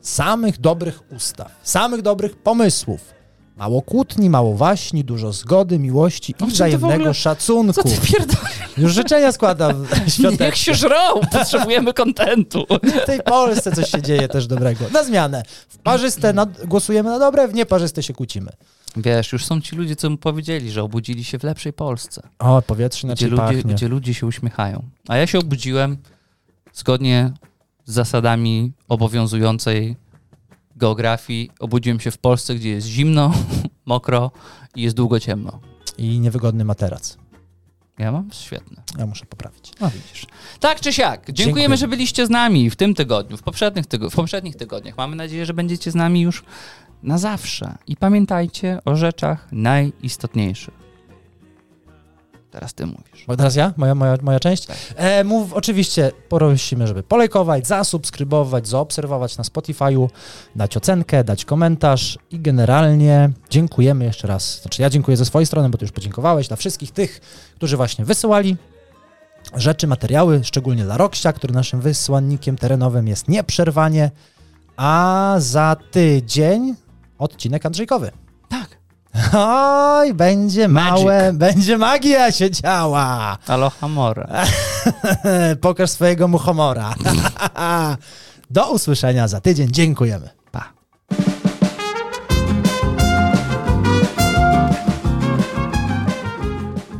[SPEAKER 1] samych dobrych ustaw, samych dobrych pomysłów. Mało kłótni, mało waśni, dużo zgody, miłości i
[SPEAKER 2] No w czym ty w
[SPEAKER 1] wzajemnego
[SPEAKER 2] ogóle- No Co
[SPEAKER 1] szacunku.
[SPEAKER 2] ty pierdolisz?
[SPEAKER 1] Już życzenia składa w
[SPEAKER 2] Niech
[SPEAKER 1] świątecznym.
[SPEAKER 2] się żrą, potrzebujemy kontentu.
[SPEAKER 1] W tej Polsce coś się dzieje też dobrego. Na zmianę. W parzyste nad... głosujemy na dobre, w nieparzyste się kłócimy.
[SPEAKER 2] Wiesz, już są ci ludzie, co mu powiedzieli, że obudzili się w lepszej Polsce,
[SPEAKER 1] O, powietrze na
[SPEAKER 2] gdzie ludzie, gdzie ludzie się uśmiechają. A ja się obudziłem zgodnie z zasadami obowiązującej geografii. Obudziłem się w Polsce, gdzie jest zimno, mokro i jest długo ciemno.
[SPEAKER 1] I niewygodny materac.
[SPEAKER 2] Ja mam świetne.
[SPEAKER 1] Ja muszę poprawić.
[SPEAKER 2] No widzisz. Tak czy siak, dziękujemy,
[SPEAKER 1] Dziękuję.
[SPEAKER 2] że byliście z nami w tym tygodniu, w poprzednich, tygo- w poprzednich tygodniach. Mamy nadzieję, że będziecie z nami już na zawsze. I pamiętajcie o rzeczach najistotniejszych. Teraz ty mówisz.
[SPEAKER 1] Bo teraz ja? Moja, moja, moja część?
[SPEAKER 2] Tak.
[SPEAKER 1] E, mów, oczywiście prosimy, żeby polajkować, zasubskrybować, zaobserwować na Spotify'u, dać ocenkę, dać komentarz i generalnie dziękujemy jeszcze raz. Znaczy ja dziękuję ze swojej strony, bo ty już podziękowałeś dla wszystkich tych, którzy właśnie wysyłali rzeczy, materiały, szczególnie dla Roksia, który naszym wysłannikiem terenowym jest nieprzerwanie, a za tydzień odcinek Andrzejkowy.
[SPEAKER 2] Tak.
[SPEAKER 1] Oj, będzie
[SPEAKER 2] Magic.
[SPEAKER 1] małe, będzie magia się działa.
[SPEAKER 2] Aloha mora.
[SPEAKER 1] Pokaż swojego muchomora. Do usłyszenia za tydzień. Dziękujemy.